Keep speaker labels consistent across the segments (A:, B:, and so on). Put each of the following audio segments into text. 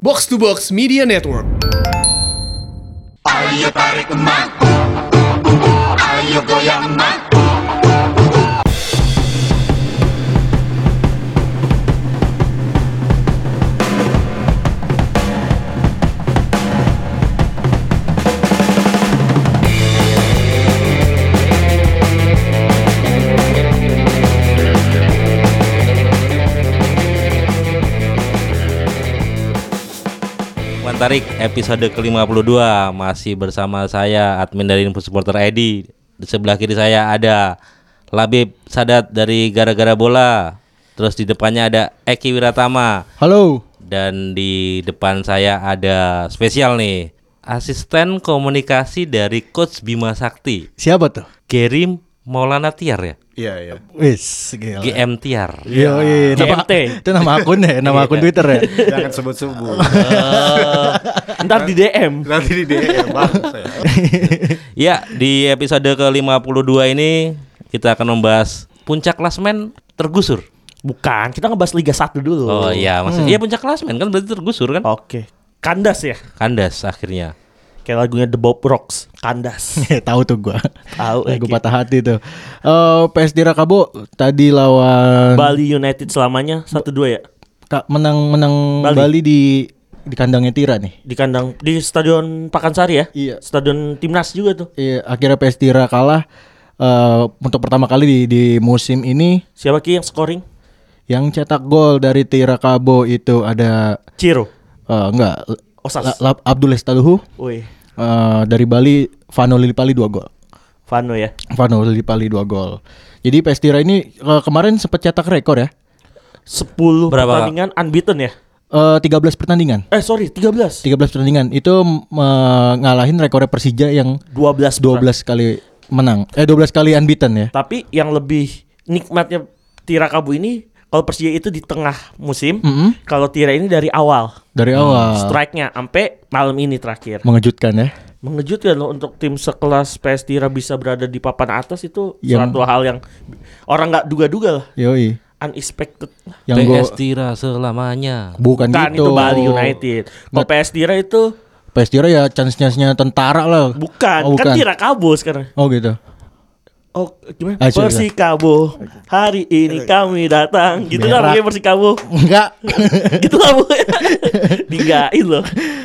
A: Box to Box Media Network.
B: Ayo tarik emak Ayo goyang emak
C: Tarik episode ke-52 masih bersama saya admin dari Info Supporter Edi. Di sebelah kiri saya ada Labib Sadat dari Gara-gara Bola. Terus di depannya ada Eki Wiratama
D: Halo.
C: dan di depan saya ada spesial nih, asisten komunikasi dari coach Bima Sakti,
D: Siapa tuh?
C: Gerim Maulana Tiar ya,
A: Iya, iya.
D: Wis, gila.
C: GM Tiar.
D: Yo, iya, nama,
E: GMT.
D: itu nama akun ya,
E: Iya.
D: nama akun Twitter ya.
F: Jangan sebut-sebut.
E: Ntar di DM.
F: Nanti di DM bangsa ya.
C: Ya, di episode ke-52 ini kita akan membahas puncak klasmen tergusur.
E: Bukan, kita ngebahas Liga 1 dulu.
C: Oh iya, maksudnya iya puncak klasmen kan berarti tergusur kan?
E: Oke. Kandas ya.
C: Kandas akhirnya.
E: Kayak lagunya The Bob Rocks. Kandas.
D: Ya, Tahu tuh gua.
E: Tahu,
D: Lagu
E: Eki.
D: patah hati tuh. Eh PSD Rakabo tadi lawan
E: Bali United selamanya 1-2 ya.
D: Ta- menang menang
E: Bali.
D: Bali. di di kandangnya Tira nih.
E: Di kandang di Stadion Pakansari ya.
D: Iya.
E: Stadion Timnas juga tuh.
D: Iya, akhirnya PS Tira kalah eh untuk pertama kali di di musim ini
E: Siapa Ki yang scoring?
D: yang cetak gol dari Tira Kabo itu ada
E: Ciro.
D: eh, enggak
E: Osas.
D: La- La- Abdul Estaluhu
E: Woi,
D: eh, dari Bali Vano Lilipali 2 gol.
E: Fano ya.
D: Vano Lillipali 2 gol. Jadi Pestira ini eh, kemarin sempat cetak rekor ya.
E: 10
C: Berapa,
E: pertandingan unbeaten ya.
D: Eh 13 pertandingan.
E: Eh sorry, 13.
D: 13 pertandingan itu mengalahin rekornya Persija yang
E: 12
D: 12 kali menang. Eh 12 kali unbeaten ya.
E: Nah, Tapi yang lebih nikmatnya Tira Kabu ini kalau Persija itu di tengah musim,
D: Mm-mm.
E: kalau Tira ini dari awal.
D: Dari awal
E: Strike-nya sampai malam ini terakhir.
D: mengejutkan ya.
E: Mengejutkan loh untuk tim sekelas PS Tira bisa berada di papan atas itu
D: Yang-
E: suatu hal yang orang nggak duga-duga lah,
D: Yoi.
E: unexpected.
D: Yang gua
C: PS Tira selamanya.
D: bukan
E: Bukan
D: gitu.
E: itu Bali United.
D: Nggak.
E: Kalau PS Tira itu
D: Pestira ya chance-chance-nya tentara lah. Oh,
E: bukan, kan Tira Kabo sekarang.
D: Oh gitu.
E: Oh, gimana?
D: Ah, sorry,
E: Persikabo, hari ini kami datang. Gitu lah
D: Berak.
E: pokoknya Persikabo.
D: Enggak.
E: gitu lah pokoknya. Dinggain loh.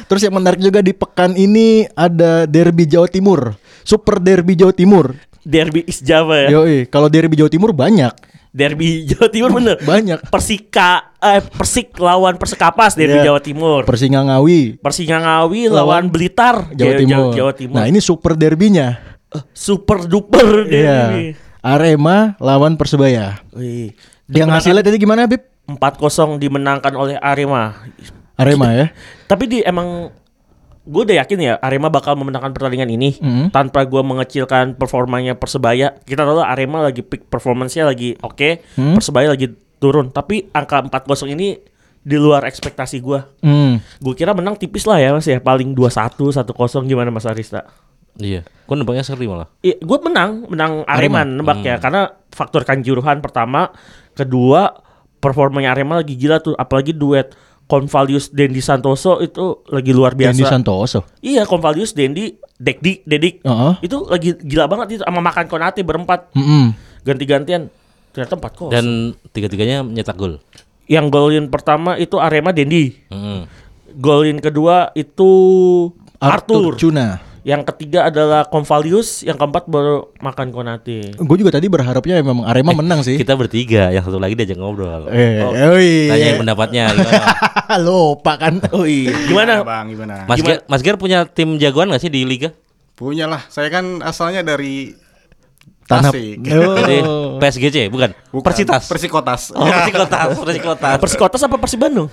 D: Terus yang menarik juga di pekan ini ada derby Jawa Timur. Super derby Jawa Timur.
E: Derby East Java ya.
D: Yoi, kalau derby Jawa Timur banyak.
E: Derby Jawa Timur bener.
D: Banyak.
E: Persika eh Persik lawan Persekapas Derby
D: Iya.
E: Jawa Timur.
D: Persinga Ngawi,
E: Persinga Ngawi lawan,
D: Lawan
E: Blitar
D: Jawa
E: Ja- Ja-
D: Timur.
E: Iya, Jawa Timur. Eh,
D: Nah, ini super derbynya.
E: super duper
D: Iya.
E: derby.
D: Arema lawan Persebaya.
E: Wih.
D: Yang hasilnya tadi gimana, Bib?
E: 4-0 dimenangkan oleh Arema.
D: Arema ya.
E: Tapi di emang gue udah yakin ya Arema bakal memenangkan pertandingan ini
D: Mm.
E: tanpa gue mengecilkan performanya Persebaya. Kita tahu lah Arema lagi peak performance-nya lagi oke,
D: Mm.
E: Persebaya lagi turun. Tapi angka 4-0 ini di luar ekspektasi gue.
D: Hmm.
E: Gue kira menang tipis lah ya mas ya Paling 2-1, 1-0 gimana mas Arista?
C: Iya. Gua nembaknya seri malah.
E: Iya, gue menang, menang Arema, nembak ya Karena faktor kanjuruhan pertama Kedua, performanya Arema lagi gila tuh Apalagi duet Convalius Dendi Santoso itu lagi luar biasa
D: Dendi Santoso.
E: Iya, Convalius Dendi, Dekdi, Dedik
D: Heeh. Hmm.
E: Itu lagi gila banget itu Sama Makan Konate berempat
D: Mm-mm.
E: Ganti-gantian Ternyata 4 kos
C: Dan tiga-tiganya nyetak gol.
E: Yang golin pertama itu Arema Dendi
C: Mm-mm.
E: Golin kedua itu Arthur,
D: Cuna.
E: Yang ketiga adalah Convalius, yang keempat baru makan Konate.
D: Gue juga tadi berharapnya memang Arema menang sih.
C: Kita Oh, bertiga, yang satu lagi diajak ngobrol.
D: Eh,
C: Tanyain pendapatnya. gitu. gimana.
D: Lupa kan.
E: Oh iya.
F: Gimana
E: Gimana?
F: bang? Gimana?
C: Mas Ger, Mas Ger punya tim jagoan gak sih di liga?
F: Punya lah. Saya kan asalnya dari
D: Tanah.
F: Tasik.
D: Oh.
C: Jadi PSGC bukan?
F: Bukan,
C: Persitas.
F: Persikotas. Iya.
C: oh, Persikotas, Persikotas.
E: Persikotas apa Persi Bandung?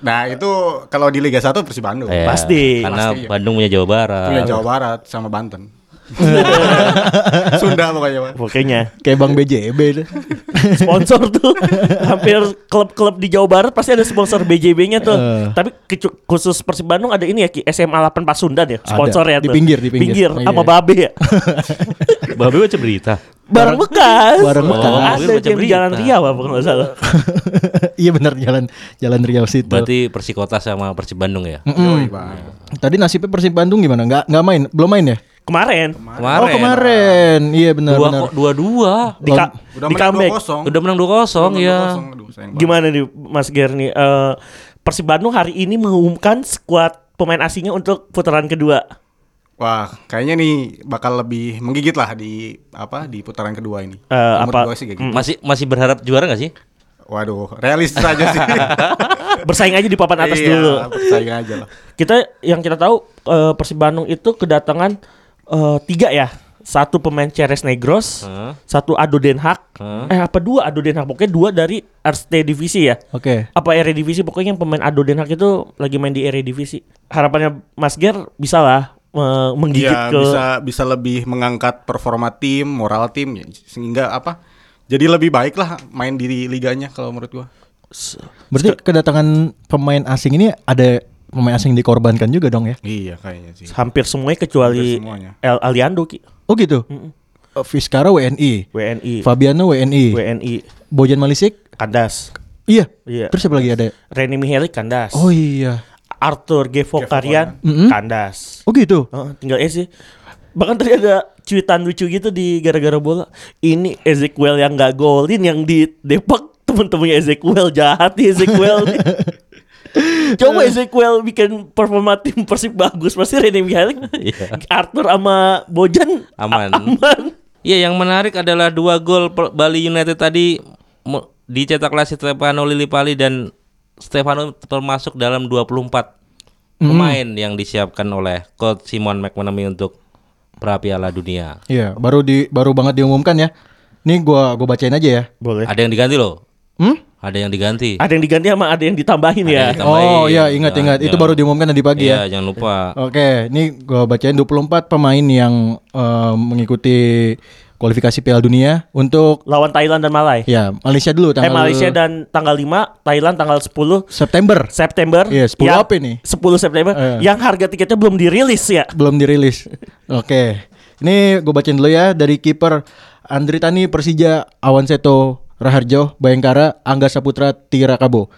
F: Nah itu kalau di Liga 1 Persi Bandung.
C: Iya,
E: Pasti.
C: Karena
F: Pasti.
E: eh,
C: Bandung punya Jawa Barat.
F: Punya Jawa Barat sama Banten. Sunda pokoknya Pak.
E: Pokoknya
D: Kayak Bang BJB itu.
E: sponsor tuh hampir klub-klub di Jawa Barat pasti ada sponsor BJB-nya tuh.
D: Eh.
E: Tapi kecu- khusus Persib Bandung ada ini ya Ki, SMA 8 Pasundan ya sponsor ya
D: Di
E: tuh.
D: pinggir, di pinggir.
E: pinggir
D: Iya,
E: sama
D: iya.
E: Babe ya.
C: Babe baca berita.
E: Barang bekas.
D: Barang
E: Oh,
D: bekas.
E: Ada
C: Baca
E: yang di Jalan
C: berita.
E: Riau apa kalau nggak salah.
D: iya benar jalan jalan Riau situ.
C: Berarti Persikota sama Persib Bandung ya?
F: Yoi, Bang.
D: Tadi nasibnya Persib Bandung gimana? Nggak nggak main, belum main ya?
E: Kemarin
C: Kemarin.
D: Oh kemarin, iya benar
C: Dua
D: benar.
C: kok dua-dua.
E: di, ka-
F: Udah
E: di
F: menang
E: comeback.
F: 2-0.
C: Udah menang 2-0 ya.
E: Gimana nih Mas Gerni? Eh, Persib Bandung hari ini mengumumkan skuad pemain asingnya untuk putaran kedua.
F: Wah, kayaknya nih bakal lebih menggigit lah di apa di putaran kedua ini.
E: Eh,
F: Menurut
E: apa-
F: gua sih kayak gitu.
C: Hmm, Masih masih berharap juara gak sih?
F: Waduh, realistis aja sih.
E: Bersaing aja di papan atas
F: Iya,
E: dulu.
F: persaingan aja lah.
E: Kita yang kita tahu eh, Persib Bandung itu kedatangan eh, tiga ya. Satu pemain Ceres Negros,
C: Hah?
E: satu Ado Den Haag.
C: Hah?
E: Eh apa dua Ado Den Haag? Pokoknya dua dari RST Divisi ya.
D: Oke.
E: Apa Eredivisie pokoknya yang pemain Ado Den Haag itu lagi main di Eredivisie. Harapannya Mas Ger bisa lah eh, menggigit
F: Iya,
E: ke
F: bisa bisa lebih mengangkat performa tim, moral tim ya, sehingga apa? Jadi lebih baik lah main di liganya kalau menurut gua.
D: Berarti kedatangan pemain asing ini ada pemain asing dikorbankan juga dong ya?
F: Iya, kayaknya sih.
E: hampir semuanya kecuali
F: Hampir semuanya.
E: El Aliando Ki.
D: Oh gitu. Eh, Fiskara WNI,
E: WNI,
D: Fabiano WNI,
E: WNI,
D: Bojan Malisik,
E: Kandas,
D: iya.
E: Iya.
D: Terus siapa lagi ada?
E: Reni Miheli Kandas,
D: Oh iya.
E: Arthur Gevokarian
D: Mhm.
E: Kandas.
D: Oh gitu.
E: Heeh, tinggal eh sih. Bahkan tadi ada cuitan lucu gitu di gara-gara bola. Ini Ezekiel yang nggak golin yang di Depok temen-temennya Ezekiel jahat nih Ezekiel. nih. Coba Ezekiel bikin performa tim Persib bagus pasti Rene Mihalik,
D: Iya.
E: Arthur sama Bojan a-
C: Aman.
E: aman.
C: Iya, yang menarik adalah dua gol per- Bali United tadi mo- dicetak oleh Stefano Lillipali dan Stefano termasuk dalam 24 pemain yang disiapkan oleh coach Simon McManamy untuk pra Piala Dunia.
D: Iya, baru di baru banget diumumkan ya. Nih gua gua bacain aja ya.
E: Boleh.
C: Ada yang diganti loh.
D: Hmm?
C: Ada yang diganti.
E: Ada yang diganti sama ada yang ditambahin
C: yang
E: ya.
C: Tambahin.
D: Oh iya, ingat-ingat. Itu
C: Jangan-
D: baru diumumkan tadi pagi ya.
C: Iya, jangan lupa.
D: Oke, ini gua bacain 24 pemain yang eh, mengikuti kualifikasi Piala Dunia untuk
E: Lawan Thailand dan Malai.
D: ya Malaysia dulu
E: Eh
D: tanggal
E: Malaysia dan tanggal 5, Thailand tanggal 10
D: September
E: September.
D: Iya, 10
E: Yang-
D: apa ini?
E: 10 September.
D: Eh.
E: Yang harga tiketnya belum dirilis ya.
D: belum dirilis. Oke. Ini gue bacain dulu ya dari kiper Andri Tani Persija Awanseto Raharjo Bayangkara Angga Saputra Tirakabo.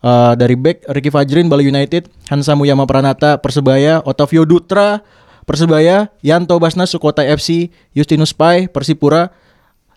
D: Eh dari back Ricky Fajrin Bali United, Hansa Muyama Pranata Persebaya, Otavio Dutra Persebaya, Yanto Basnas Sukotai FC, Justinus Pai Persipura,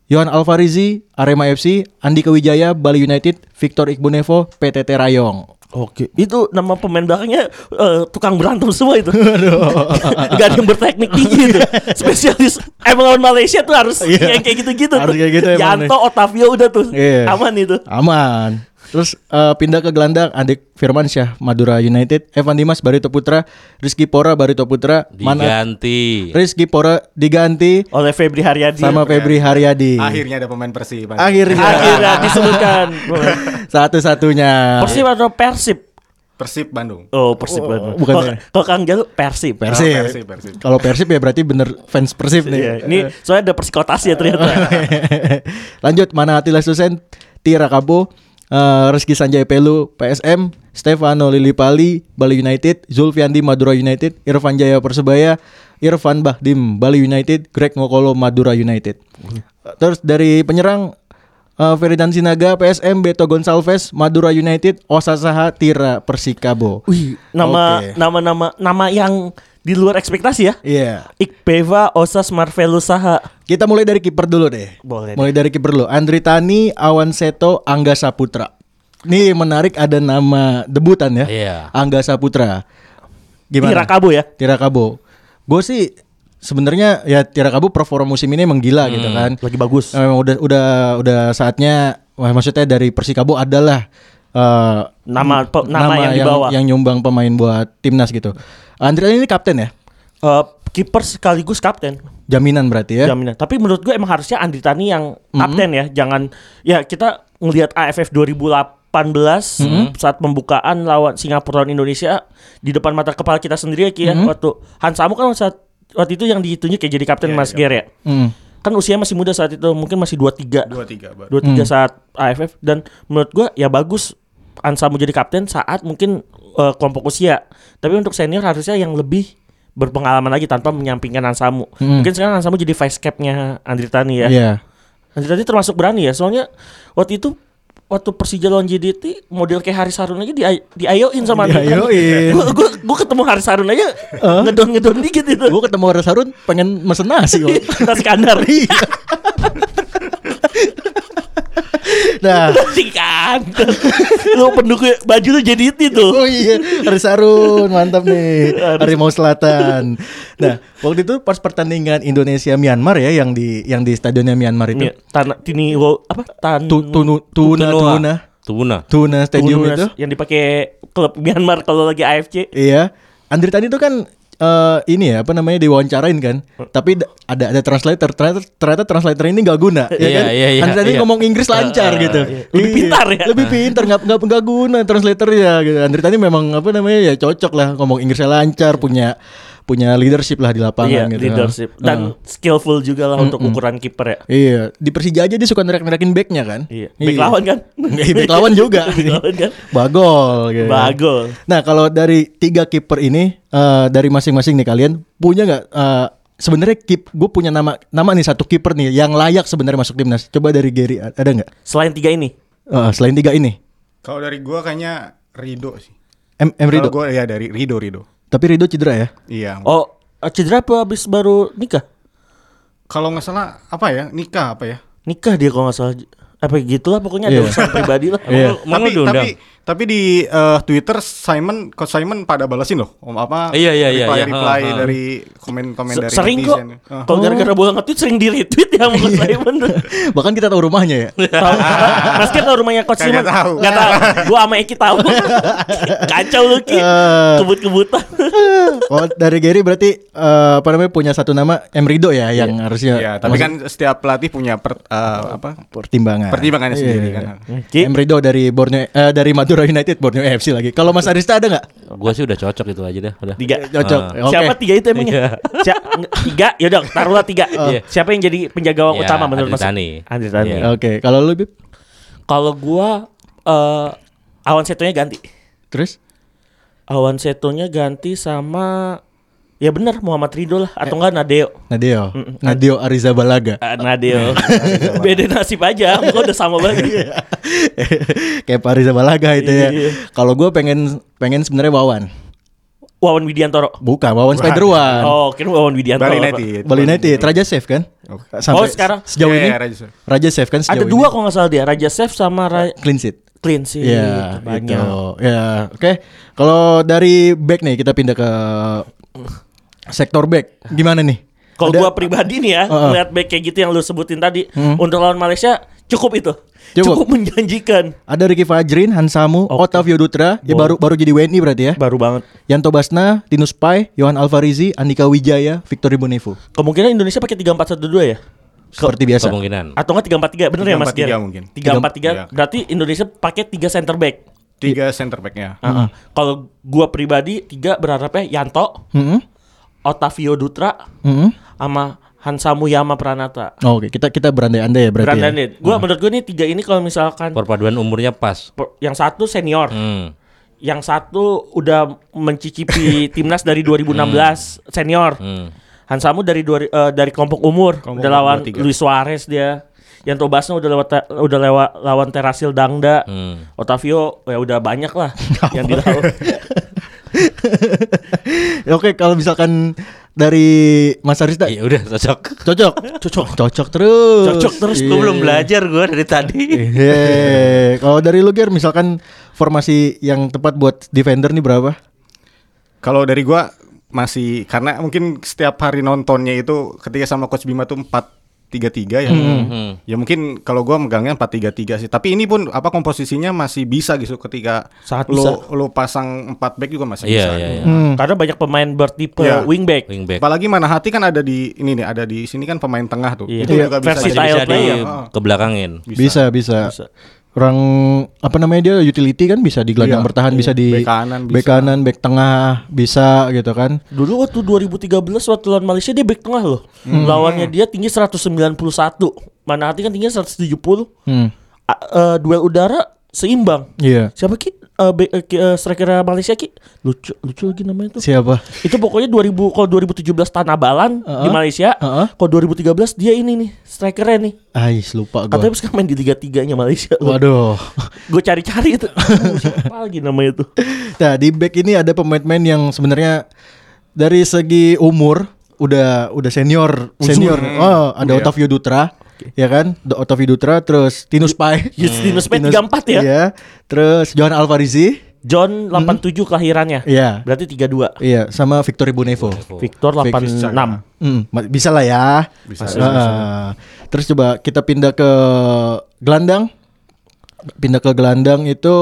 D: Yohan Alvarizi Arema FC, Andi Kewijaya Bali United, Victor Igbonevo PTT Rayong.
E: Oke. Itu nama pemain belakangnya eh, tukang berantem semua itu. Gak ada yang berteknik tinggi itu. Spesialis emang lawan Malaysia tuh harus
D: Iya.
E: yang kayak gitu-gitu.
D: Harus
E: tuh.
D: kayak gitu emang
E: Yanto, Otavio udah tuh.
D: Iya.
E: Aman itu.
D: Aman. Terus eh, pindah ke gelandang Adik Firmansyah Madura United, Evan Dimas Barito Putra, Rizky Pora Barito Putra, Manat
C: Diganti.
D: Rizky Pora diganti
E: Oleh Febri Haryadi.
D: sama Febri Haryadi.
F: Iya. Akhirnya ada pemain Persib.
D: Akhirnya
E: Akhirnya disebutkan.
D: Nah, iya. satu-satunya.
E: Persib atau Persib?
F: Persib Bandung.
E: Oh Persib Bandung.
D: bukan
E: Kalau-
D: ya.
E: Kalau Kang Jalu Persib.
D: Persib.
F: Oh, Persib, Persib.
D: Kalau Persib ya berarti bener fans Persib nih.
E: Iya, ini soalnya ada persikotasi ya ternyata.
D: Lanjut mana Atila Susen, Tira Kabo, eh, Rizky Sanjay Pelu, PSM, Stefano Lillipali, Bali United, Zulfiandi Madura United, Irfan Jaya Persebaya, Irfan Bahdim Bali United, Greg Ngokolo Madura United.
E: Mm-hmm.
D: Terus dari penyerang eh, Feridan Sinaga, PSM, Beto Gonçalves, Madura United, Osasaha, Tira Persikabo.
E: Wih, nama
D: Oke.
E: nama nama nama yang di luar ekspektasi ya.
D: Iya.
E: Ikpeva Osas Marvelus Saha.
D: Kita mulai dari kiper dulu deh.
E: Boleh
D: Mulai dari kiper dulu. Andri Tani, Awan Seto, Angga Saputra. Nih menarik ada nama debutan ya.
C: Iya.
D: Angga Saputra. Gimana?
E: Tirakabo ya.
D: Tirakabo. Gue sih sebenarnya ya Tirakabo performa musim ini emang gila gitu kan.
E: Hmm, Lagi bagus.
D: Emang udah udah udah saatnya wah, maksudnya dari Persikabo adalah eh,
E: Nama pe- nama yang dibawa.
D: yang nyumbang pemain buat timnas gitu. Andri Tani ini kapten ya?
E: Eh, kiper sekaligus kapten.
D: Jaminan berarti ya.
E: Jaminan. Tapi menurut gue emang harusnya Andri Tani yang kapten ya. Jangan ya kita ngelihat AFF 2018 saat pembukaan lawan Singapura lawan Indonesia di depan mata kepala kita sendiri ya Ki ya waktu Hansamu kan saat waktu itu yang ditunjuk ya jadi kapten Mas Ger ya.
D: Hmm.
E: Kan usianya masih muda saat itu, mungkin masih 23.
F: 23 baru.
E: 23
D: Hmm.
E: saat AFF dan menurut gua ya bagus Ansa mau jadi kapten saat mungkin eh, kelompok usia. Tapi untuk senior harusnya yang lebih berpengalaman lagi tanpa menyampingkan Ansamu.
D: Hmm.
E: Mungkin sekarang Ansamu jadi vice capnya Andritani ya.
D: Iya.
E: Andritani termasuk berani ya. Soalnya waktu itu waktu Persija lawan JDT model kayak Haris Harun aja di diayoin sama
D: Diayoin.
E: Gue gue ketemu Haris Harun aja ngedon ngedon dikit itu.
D: Gue ketemu Haris Harun pengen mesen nasi gua.
E: Tas kandar.
D: Iya. Nah,
E: Si kandar. Lu pendukung baju lu JDT tuh.
D: Oh iya, Haris Harun, mantap nih. Harimau Selatan. Nah, waktu itu pas pertandingan Indonesia Myanmar ya yang di yang di stadionnya Myanmar itu.
E: Iya, tanah tini wo- apa tan
D: Tu, tunu, tuna,
C: Tunoa.
D: tuna,
C: Tuna.
D: tuna stadium
E: tunas
D: itu.
E: yang dipakai klub Myanmar kalau lagi AFC.
D: Iya. Andri tadi itu kan eh ini ya apa namanya diwawancarain kan, tapi da- ada ada translator ternyata ternyata translator ini nggak guna, ya
C: Iya,
D: kan?
C: iya, iya,
D: Andri tadi
C: iya.
D: ngomong Inggris lancar gitu,
E: Lebih
D: Iya,
E: pintar ya?
D: lebih pintar nggak nggak nggak guna translatornya gitu. Andri tadi memang apa namanya ya cocok lah ngomong Inggrisnya lancar, punya punya leadership lah di lapangan
E: Iya,
D: gitu.
E: leadership
D: Nah,
E: dan skillful juga lah untuk ukuran kiper ya.
D: iya di Persija aja dia suka nerek-nerekin backnya kan?
E: Iya. Back lawan kan?
D: Iya, back lawan juga.
E: Back lawan kan?
D: Bagol. Gitu.
E: Bagol.
D: Nah kalau dari tiga kiper ini eh, dari masing-masing nih kalian punya nggak? eh, sebenarnya kip, gue punya nama nama nih satu kiper nih yang layak sebenarnya masuk timnas. Coba dari Gary a- ada nggak?
E: Selain tiga ini.
D: Eh, selain tiga ini,
F: Kalau dari gua kayaknya Rido sih.
D: M, M Rido.
F: Kalau gua ya dari Rido Rido.
D: Tapi Rido cedera ya?
F: Iya.
E: Oh, cedera apa habis baru nikah?
F: Kalau nggak salah apa ya nikah apa ya?
E: Nikah dia kalau nggak salah. Apa gitu lah pokoknya ada
D: Iya.
E: urusan pribadi lah.
D: Iya.
C: Mau
F: tapi,
C: diundang?
F: tapi tapi di eh, Twitter Simon coach Simon pada balasin loh om apa
C: Iya, iya, iya,
F: reply
C: iya.
F: reply
C: Ha, ha.
F: dari komen komen
E: Se-
F: dari
E: Sering kok.
F: netizen. Ah.
E: Kalau
D: Oh.
E: gara-gara bola nge-tweet sering di-retweet ya Mas
D: Iya.
E: Simon.
D: Bahkan kita tahu rumahnya ya.
E: Tahu. Mas Kit tahu rumahnya Coach
F: Kagak
E: Simon?
F: tahu.
E: Gak tahu. Gua sama Eki tahu. Kacau lu Ki.
D: Eh.
E: Kebut-kebutan.
D: Oh dari Gary berarti eh, apa namanya punya satu nama M Rido ya yang harusnya.
F: Iya, tapi
D: masuk
F: kan setiap pelatih punya per- eh, apa
D: pertimbangan.
F: pertimbangannya
D: Iya,
F: sendiri
D: iya,
F: kan.
D: iya.
E: Ki,
D: M Rido dari Borneo eh, dari Madura United Borneo FC lagi. Kalau Mas Arista ada nggak?
C: Gua sih udah cocok itu aja deh, udah.
E: tiga.
D: Cocok.
C: Ah.
D: Eh, Oke.
E: Siapa tiga itu
C: Iya.
E: emangnya? Si- tiga, yaudah taruhlah tiga.
D: Eh.
C: Iya.
E: Siapa yang jadi penjaga gawang
C: Ya,
E: Oh, utama menurut Mas?
C: Andritani.
E: Iya, Andri Tani.
C: Iya.
D: Oke, kalau lu Bib?
E: Kalau gua eh Awan Setonya ganti.
D: Terus?
E: Awan Setonya ganti sama Ya benar Muhammad Ridho lah atau enggak Nadeo.
D: Nadeo. Nadeo Arizabalaga.
E: Eh, Nadeo. Beda nasib aja, gua udah sama
D: Iya.
E: banget.
D: Kayak Pak Arizabalaga itu ya.
E: Iya.
D: Kalau gue pengen pengen sebenarnya Wawan.
E: Wawan Widiantoro.
D: Bukan, Wawan Spiderwan.
E: Oh, kira Wawan Widiantoro.
F: Bali
E: Pak.
F: United.
D: Bali United, Raja Safe kan?
E: Oh, sekarang.
D: sejauh
F: Iya,
D: ini
F: iya, Raja Safe.
D: Raja Safe kan
E: Ada
D: sejauh ini.
E: dua kalau nggak salah dia Raja Chef sama Ra-
D: clean sheet.
E: Clean sih
D: Iya,
E: banyak.
D: gitu. Ya, oke. Kalau dari back nih kita pindah ke sektor back. Gimana nih?
E: Kalau
D: Ada-
E: gua pribadi nih ya
D: Heeh. Hmm.
E: melihat back kayak gitu yang lu sebutin tadi untuk lawan Malaysia cukup itu.
D: Cukup.
E: Cukup, menjanjikan.
D: ada Ricky Fajrin, Hansamu, Otavio Dutra, ya baru baru jadi WNI berarti ya.
E: Baru banget.
D: Yanto Basna, Tinus Pai, Yohan Alvarizi, Andika Wijaya, Victor Ibunevo.
E: Kemungkinan Indonesia pakai 3412 ya?
D: Seperti biasa.
C: Kemungkinan.
E: Atau enggak 343 bener ya Mas
F: 343
E: Ger?
F: mungkin.
E: 343
F: Iya.
E: berarti Indonesia pakai 3 center back.
F: Tiga center backnya.
E: Heeh. Kalau gua pribadi 3 berharapnya Yanto,
D: Mm-mm.
E: Otavio Dutra
D: Mm-mm.
E: sama Hansamu Yama Pranata.
D: Oh, Oke, kita kita berandai-andai ya berarti. ya?
E: Berandai. Gua menurut gua nih tiga ini kalau misalkan
C: Perpaduan umurnya pas.
E: per- yang satu senior,
C: Hmm.
E: yang satu udah mencicipi timnas dari 2016
F: Hmm.
E: senior. Hansamu dari dua, eh, dari kelompok umur
F: Kelompok
E: udah
F: umur
E: lawan
F: 23.
E: Luis Suarez dia. Yang Tobasnya udah lewat udah lewat lawan Terasil Dangda.
F: Hmm.
C: hmm.
E: Otavio ya udah banyak lah yang dilawan.
D: Oke, kalau misalkan dari Mas Arista
C: Ya udah cocok.
D: cocok. Cocok. Cocok terus.
E: Cocok terus
C: Gua belum belajar gua dari tadi.
D: Hehehe. Kalau dari lu Ger misalkan formasi yang tepat buat defender nih berapa?
F: Kalau dari gua masih karena mungkin setiap hari nontonnya itu ketika sama coach Bima tuh 4 3-3 ya. Ya mungkin kalau gua megangnya 4-3-3 sih. Tapi ini pun apa komposisinya masih bisa gitu ketika
E: Sangat
F: lu
E: bisa.
F: lu pasang 4 back juga masih
C: Iya,
F: bisa.
C: iya, iya.
F: Hmm.
E: Karena banyak pemain bertipe
F: Iya.
E: wingback.
C: Wingback.
F: Apalagi mana hati kan ada di ini nih, ada di sini kan pemain tengah tuh.
E: Iya.
F: Itu
E: Iya,
F: juga bisa
E: versi
F: jadi
E: Style
C: Bisa di
E: player.
C: kebelakangin.
D: Bisa, bisa.
E: Bisa.
D: orang apa namanya dia utility kan bisa di gelandang
F: Iya,
D: bertahan
F: iya.
D: bisa di
F: Back kanan
D: back
F: bisa.
D: kanan, back tengah bisa gitu kan
E: Dulu waktu 2013 waktu lawan Malaysia dia back tengah loh.
F: Hmm.
E: Lawannya dia tinggi 191. Mana hati kan tingginya 170.
D: hmm.
E: A- eh, duel udara seimbang.
D: iya
E: Siapa ki? Eh, back- eh, ki- eh, striker Malaysia ki? Lucu lucu lagi namanya tuh.
D: siapa
E: Itu pokoknya 2000 kalau 2017 Tanah Balan di
D: Heeh.
E: Malaysia.
D: Heeh.
E: Kalau 2013 dia ini nih strikernya nih.
D: Ais lupa
E: Katanya
D: gua
E: sekarang main di Liga 3-nya Malaysia.
D: waduh
E: Gue cari-cari itu. Oh, Siapa lagi namanya tuh?
D: nah di back ini ada pemain-pemain yang sebenarnya dari segi umur udah udah senior senior oh ada Otavio Dutra ya kan The Otavio Dutra terus Tinus Pai
E: Justinus Pet 34 ya.
D: Iya. terus Johan Alvarizi
E: John 87 kelahirannya.
D: Iya.
E: Berarti 32.
D: iya sama Victor Ibunevo
E: Victor 86.
D: Hmm, ma- bisa lah ya. Bisa, Terus coba kita pindah ke gelandang. Pindah ke gelandang itu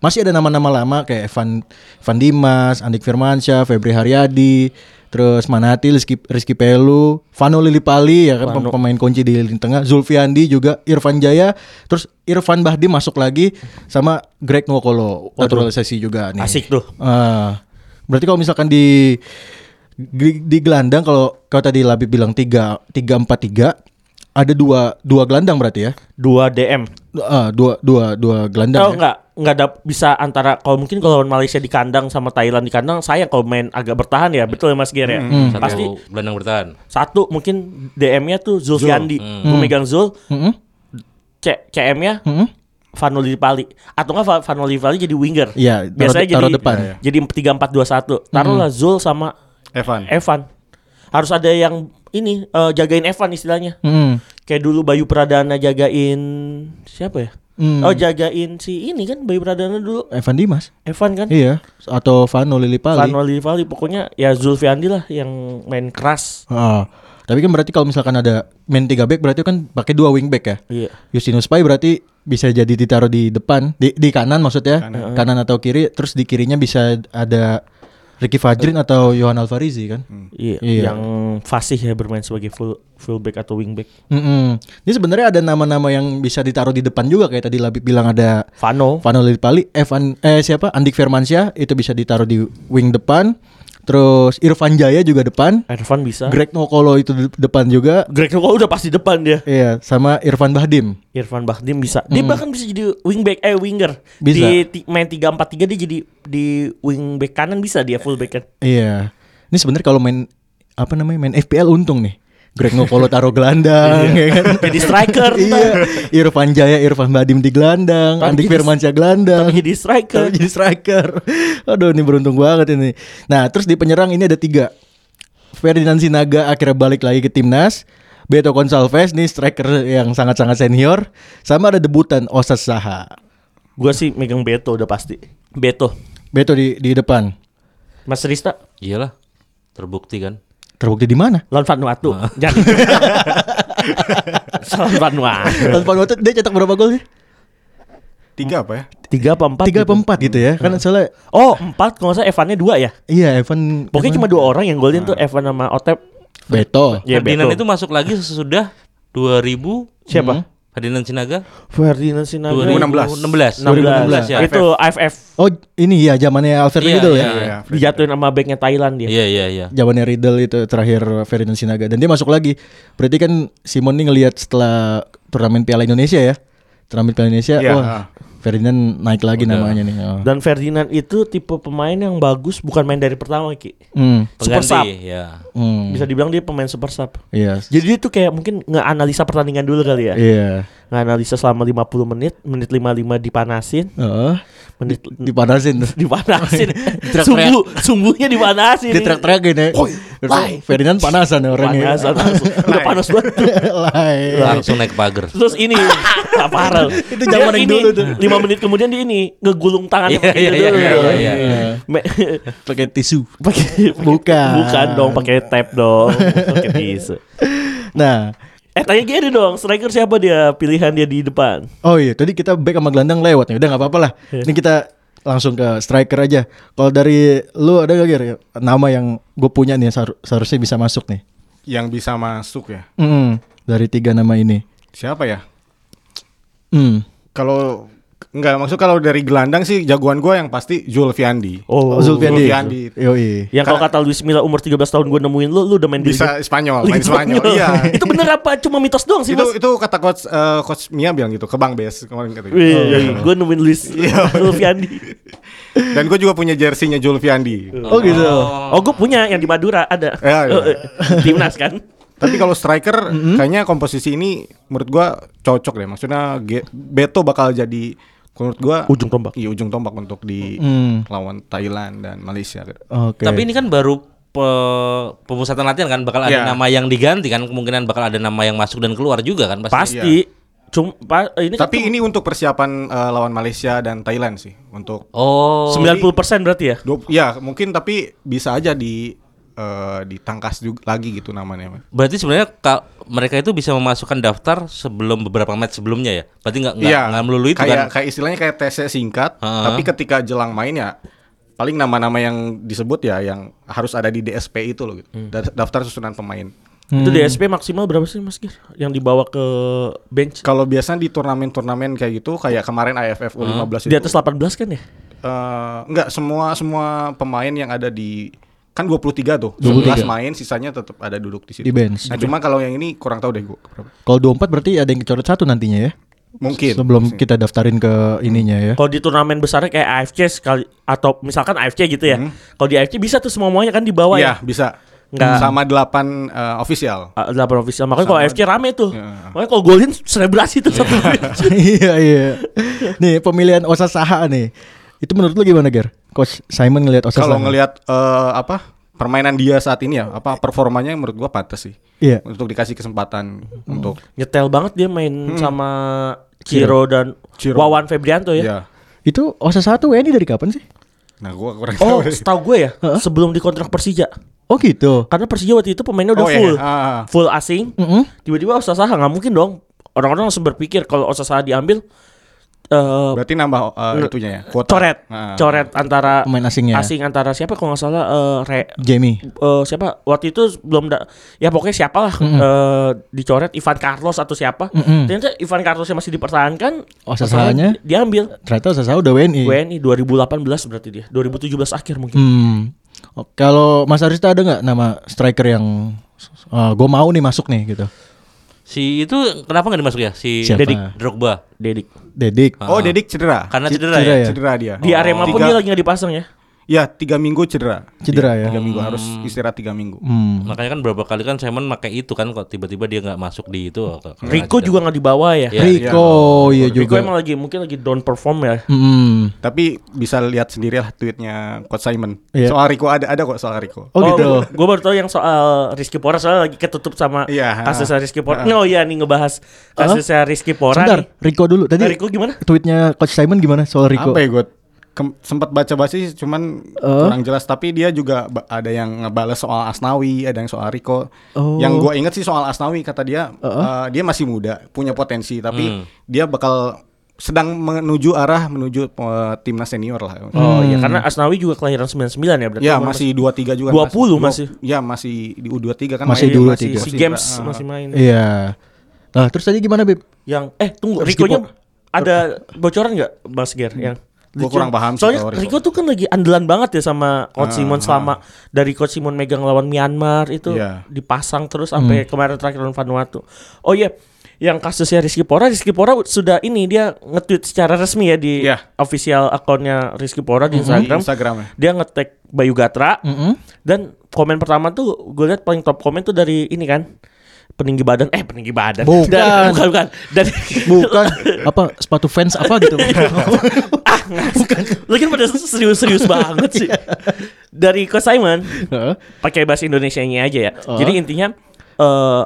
D: masih ada nama-nama lama kayak Evan Van Dimas, Andik Firmansyah, Febri Haryadi, terus Manati, Rizky, Rizky Pelu, Vano Lilipali ya kan pem- pemain kunci di lini tengah, Zulfiandi juga, Irfan Jaya, terus Irfan Bahdi masuk lagi sama Greg Nwokolo naturalisasi juga nih.
E: Asik tuh.
D: Ah, berarti kalau misalkan di di, di gelandang kalau kau tadi Labib bilang 3 3 4 3 ada dua dua gelandang berarti ya.
E: 2 DM.
D: Ah, dua dua dua gelandang. ya?
E: Oh enggak, enggak ada bisa antara kalau mungkin kalau lawan Malaysia di kandang sama Thailand di kandang, saya kalau main agak bertahan ya, betul ya Mas Ger ya.
D: Hmm.
C: Satu
E: Pasti
C: gelandang bertahan.
E: satu mungkin DM-nya tuh Zulfiandi, gue megang Zul,
D: Mm-mm,
E: C- CM-nya
D: mm-mm.
E: Vanoli Pali atau enggak Va- Vanoli Pali jadi winger.
D: Iya, taruh-
E: biasanya jadi
D: taruh depan. Hmm.
E: Jadi 3 4 2 1. Taruhlah Zul sama
F: Evan.
E: Evan. Harus ada yang ini eh, jagain Evan istilahnya.
D: Mm-mm.
E: Kayak dulu Bayu Pradana jagain siapa ya?
D: Hmm.
E: Oh jagain si ini kan Bayu Pradana dulu
D: Evan Dimas.
E: Evan kan?
D: Iya, atau Vano Lilipali.
E: Van Vali pokoknya ya Zulfiandi lah yang main keras.
D: Ah, tapi kan berarti kalau misalkan ada main 3 back berarti kan pakai dua wing back ya.
E: Iya.
D: Justinus Pai berarti bisa jadi ditaruh di depan, di, di kanan maksudnya, kanan. atau kiri, terus di kirinya bisa ada Ricky Fajrin atau Johan Alvarizi kan.
E: Iya,
D: Iya.
E: yang fasih ya bermain sebagai full fullback atau wingback.
D: Mm-mm. Ini sebenarnya ada nama-nama yang bisa ditaruh di depan juga kayak tadi Labib bilang ada
E: Vano,
D: Vano Lilipali, Evan eh siapa? Andik Firmansyah itu bisa ditaruh di wing depan. Terus Irfan Jaya juga depan.
E: Ervan bisa. Greg,
D: Greg Nokolo itu de- depan juga.
E: Greg Nukol udah pasti depan dia.
D: Iya, sama Irfan Bahdim.
E: Irfan Bahdim bisa. Dia bahkan bisa jadi wingback eh winger.
D: Hmm. Bisa.
E: Di ti- main 3 4 3 dia jadi di wingback kanan bisa dia fullback kan.
D: Iya. Ini sebenarnya kalau main apa namanya main FPL untung nih. Greg Ngokolo taruh gelandang ya kan.
E: Iya. Jadi striker
D: iya. Irfan Jaya, Irfan Badim di gelandang,
E: Tapi
D: Andik
E: jadi-
D: Firmansyah
E: ntar.
D: gelandang.
E: Jadi striker.
D: Tapi jadi striker. Aduh, ini beruntung banget ini. Nah, terus di penyerang ini ada tiga. Ferdinand Sinaga akhirnya balik lagi ke timnas. Beto Gonçalves nih striker yang sangat-sangat senior. Sama ada debutan Osas Saha.
E: Gua sih megang Beto udah pasti. Beto.
D: Beto di di depan.
E: Mas Rista
C: Iyalah. Terbukti kan.
D: Terbukti di mana?
E: lawan Vanuatu.
D: Ah.
E: Jangan. lawan Vanuatu.
D: Lawan Vanuatu dia cetak berapa gol sih?
F: Tiga apa ya?
E: Tiga apa empat?
D: Tiga
E: gitu.
D: apa empat gitu ya? Kan soalnya
E: Oh empat kalau nggak salah Evannya dua ya.
D: Iya Evan
E: Pokoknya cuma dua orang yang golin
D: Ah.
E: tuh Evan sama Otep.
D: Beto
E: Ya,
C: Ferdinand
E: Beto.
C: itu masuk lagi sesudah 2000
E: siapa?
C: Ferdinand Sinaga
E: Ferdinand Sinaga.
C: 2016.
E: 16.
C: 2016 ya.
E: Itu AFF.
D: Oh ini ya zamannya Alfred
C: Iya,
D: Riedel
C: iya,
D: ya
F: Iya, Fred.
E: Dijatuhin sama backnya Thailand dia.
C: Iya iya iya.
D: Zamannya Riedel itu terakhir Ferdinand Sinaga Dan dia masuk lagi Berarti kan Simon nih ngelihat setelah turnamen Piala Indonesia ya Turnamen Piala Indonesia
F: Iya,
D: Wah
F: ah.
D: Ferdinand naik lagi namanya nih oh.
E: Dan Ferdinand itu tipe pemain yang bagus bukan main dari pertama ki.
D: Hmm,
E: Super sub.
C: Pengganti ya.
D: hmm,
E: Bisa dibilang dia pemain super sub.
D: Iya
E: Jadi dia tuh kayak mungkin ngeanalisa pertandingan dulu kali ya.
D: Iya
E: Ngeanalisa selama 50 menit, menit 55 dipanasin,
D: Oh,
E: menit
D: Dipanasin tuh
E: dipanasin.
D: Teriak-teriak.
E: Sumbu, sumbunya dipanasin.
D: Dia teriak-teriakin ya
E: Woi, lai.
D: Ferdinand panasan ya orangnya
E: Panasan langsung. Udah panas banget. tuh.
D: Lai.
C: Langsung naik pagar.
E: Terus ini parah. Itu
D: zaman yang dulu tuh.
E: 5 menit kemudian dia ini ngegulung tangannya
C: Iya, iya, iya, iya,
E: dulu.
C: iya.
E: Me-
D: Pakai tisu
E: pakai-
D: Bukan.
E: Bukan dong pakai tap dong. Pakai tisu.
D: Nah
E: Eh tanya gini dong, striker siapa dia pilihan dia di depan?
D: Oh iya, tadi kita back sama gelandang lewat nih. Udah nggak apa-apa lah. Ini kita langsung ke striker aja. Kalau dari lu ada gak Gir? nama yang gue punya nih yang seharu- seharusnya bisa masuk nih?
F: Yang bisa masuk ya.
D: Mm, dari tiga nama ini.
F: Siapa ya?
D: Mm.
F: Kalau nggak maksud kalau dari gelandang sih jagoan gue yang pasti Zulfiandi.
E: Oh,
D: Zulfiandi.
F: Zulfiandi.
D: Yoi.
E: Yang kalau kata Luis Milla umur 13 tahun gue nemuin lu, lu udah main di
F: Bisa
E: Liga-
F: Spanyol,
E: Liga
F: main Spanyol. Iya.
E: itu bener apa? Cuma mitos doang sih
F: itu
E: mas.
F: itu kata coach eh, coach Mia bilang gitu ke Bang Bes kemarin kata gitu.
D: Oh.
E: Wih, gue nemuin Luis Lufiandi.
F: Dan gue juga punya jersinya Zulfiandi.
D: Oh gitu.
E: Oh, gue punya yang di Madura ada.
F: Ya, ya.
E: Eh, eh, Timnas kan.
F: Tapi kalau striker kayaknya komposisi ini menurut gue cocok deh. Maksudnya Ge- Beto bakal jadi menurut gue
E: Ujung tombak.
F: Iya ujung tombak Mm-hmm. untuk di lawan Thailand dan Malaysia.
D: Oke.
C: Tapi ini kan baru pe- pemusatan latihan kan bakal ada
F: Iya.
C: nama yang diganti kan kemungkinan bakal ada nama yang masuk dan keluar juga kan pasti.
E: Pasti. Cuma iya. pa- ini kan
F: Tapi ini untuk persiapan eh, lawan Malaysia dan Thailand sih untuk
C: Oh.
E: 90% berarti ya?
F: Dua- ya mungkin tapi bisa aja di eh, ditangkas juga lagi gitu namanya. Mas.
C: Berarti sebenarnya ka- mereka itu bisa memasukkan daftar sebelum beberapa match sebelumnya ya. Berarti nggak nggak
F: Iya.
C: nggak melulu itu
F: kayak,
C: kan.
F: Kayak istilahnya kayak tesnya singkat,
C: Heeh.
F: tapi ketika jelang main ya paling nama-nama yang disebut ya yang harus ada di DSP itu loh gitu.
C: Hmm.
F: Da- Daftar susunan pemain.
E: Itu DSP maksimal berapa sih Mas Gir? Yang dibawa ke bench
F: Kalau biasanya di turnamen-turnamen kayak gitu kayak kemarin AFF U15
E: di
F: itu
E: atas 18 kan ya?
F: eh, enggak semua semua pemain yang ada di kan 23 tuh.
D: 23.
F: 11 main sisanya tetap ada duduk di situ.
D: Di bench.
F: Nah, cuma kalau yang ini kurang tahu deh gua. berapa.
D: Kalau 24 berarti ada yang kecoret satu nantinya ya.
F: Mungkin.
D: Sebelum kita daftarin ke ininya ya.
E: Kalau di turnamen besarnya kayak AFC sekali atau misalkan AFC gitu ya. Kalau di AFC bisa tuh semuanya kan dibawa
F: Hmm. Iya,
E: ya.
F: bisa.
E: Nggak-
F: Sama 8 eh, official.
E: Ah, Delapan official. Makanya kalau AFC rame tuh.
F: Iya.
E: Makanya kalau golin selebrasi tuh satu bench.
D: iya iya. Nih pemilihan Osa Saha nih. Itu menurut lu gimana Ger? Coach Simon ngelihat Osa
F: Kalau
D: Saha?
F: ngelihat eh, apa permainan dia saat ini ya, apa performanya menurut gua pantas sih.
D: Iya.
F: Untuk dikasih kesempatan untuk
E: Nyetel banget dia main sama Ciro dan
F: Hmm. Iya. Ciro.
E: Wawan Febrianto ya.
F: ya.
D: Itu Osa Saha tuh WNI dari kapan sih?
F: Nah, gua kurang
E: Oh,
F: tahu deh.
E: setahu gue ya, sebelum dikontrak Persija.
D: Oh gitu.
E: Karena Persija waktu itu pemainnya udah
F: Oh, iya,
E: full.
F: iya. Ah, ah.
E: Full asing.
D: Mm-mm.
E: Tiba-tiba Osasaha nggak mungkin dong. Orang-orang langsung berpikir kalau Osasaha diambil eh
F: Berarti nambah eh, itunya ya, kuota.
E: coret,
F: Ah.
E: coret antara
D: Pemain asingnya.
E: asing antara siapa kalau nggak salah eh, re,
D: Jamie.
E: eh, siapa waktu itu belum da- ya pokoknya siapalah eh, dicoret Ivan Carlos atau siapa.
D: Mm-mm.
E: Ternyata Ivan Carlosnya masih dipertahankan.
D: Osasaha-nya?
E: Osasaha diambil.
D: Ternyata Osa Saha udah WNI.
E: WNI 2018 berarti dia. 2017 akhir
D: Iya.
E: mungkin.
D: Hmm. Oh, Kalau Mas Arista ada nggak nama striker yang gue mau nih masuk nih gitu?
C: Si itu kenapa nggak dimasuk ya? Si
D: Siapa?
C: Dedik Drogba.
E: Dedik.
D: Dedik.
F: Oh, Dedik cedera.
C: Karena
D: Cedera
C: cedera,
D: ya?
C: ya.
F: Cedera dia.
E: Di
D: Oh.
E: Arema pun
F: Tiga-
E: dia lagi nggak dipasang ya.
D: Iya,
F: Ya, tiga minggu cedera.
D: Cedera ya?
F: Tiga minggu harus istirahat tiga minggu.
D: Hmm.
C: Makanya kan beberapa kali kan Simon pakai itu kan kok tiba-tiba dia nggak masuk di itu. kok- kok-
E: Rico juga nggak dibawa ya.
C: Iya,
D: Rico iya
E: Rico
D: juga.
E: emang lagi mungkin lagi down perform ya.
D: Hmm.
F: Tapi bisa lihat sendiri lah tweetnya Coach Simon.
D: Iya.
F: Soal Rico ada ada kok soal Rico.
D: Oh, gitu.
E: Gue baru tau yang soal Rizky Pora soalnya lagi ketutup sama
F: Iya,
E: kasusnya Rizky Pora.
F: ah.
E: No iya nih ngebahas kasusnya Rizky Pora
D: Sebentar, Hmm.
E: nih.
D: Rico dulu. Tadi
E: Nah, Rico gimana?
D: Tweetnya Coach Simon gimana soal Rico? Eh?
F: Apa ya gue sempat baca-baca sih cuman kurang jelas tapi dia juga ba- ada yang ngebales soal Asnawi, ada yang soal Rico.
D: Oh.
F: Yang gue inget sih soal Asnawi kata dia eh, dia masih muda, punya potensi tapi
D: Hmm.
F: dia bakal sedang menuju arah menuju eh, timnas senior lah.
E: Oh iya karena Asnawi juga kelahiran 99 ya berarti.
D: Iya,
F: Ya
E: umur
F: masih 23 juga
E: 20
F: Dua-
E: masih.
F: Ya masih di U23 kan
D: Masih
F: main.
D: di U23.
E: masih- masih- Si Games masih main.
D: Iya. Nah, terus tadi gimana, Bib?
E: Yang eh tunggu
D: Rizky
E: Riconya
D: Pora.
E: ada bocoran nggak Mas Ger yang
F: Gua kurang paham sih
E: Soalnya
F: kalau Rico.
E: Rico
F: Ah,
E: tuh kan lagi andalan banget ya sama Coach Simon selama dari Coach Simon megang lawan Myanmar itu
F: Iya.
E: dipasang terus sampai kemarin terakhir lawan Vanuatu. Oh iya, yang kasusnya Rizky Pora, Rizky Pora sudah ini dia nge-tweet secara resmi ya di
F: Iya.
E: official akunnya Rizky Pora di
F: Di
E: Instagram.
F: Instagram ya.
E: Dia nge-tag Bayu Gatra dan komen pertama tuh gue lihat paling top komen tuh dari ini kan peninggi badan eh peninggi badan
D: Bukan.
E: Dari- bukan bukan dari
D: Bukan apa sepatu fans apa gitu.
E: ah bukan lagi pada serius-serius banget sih dari Coach Simon
D: Heeh.
E: pakai bahasa Indonesianya aja ya jadi intinya eh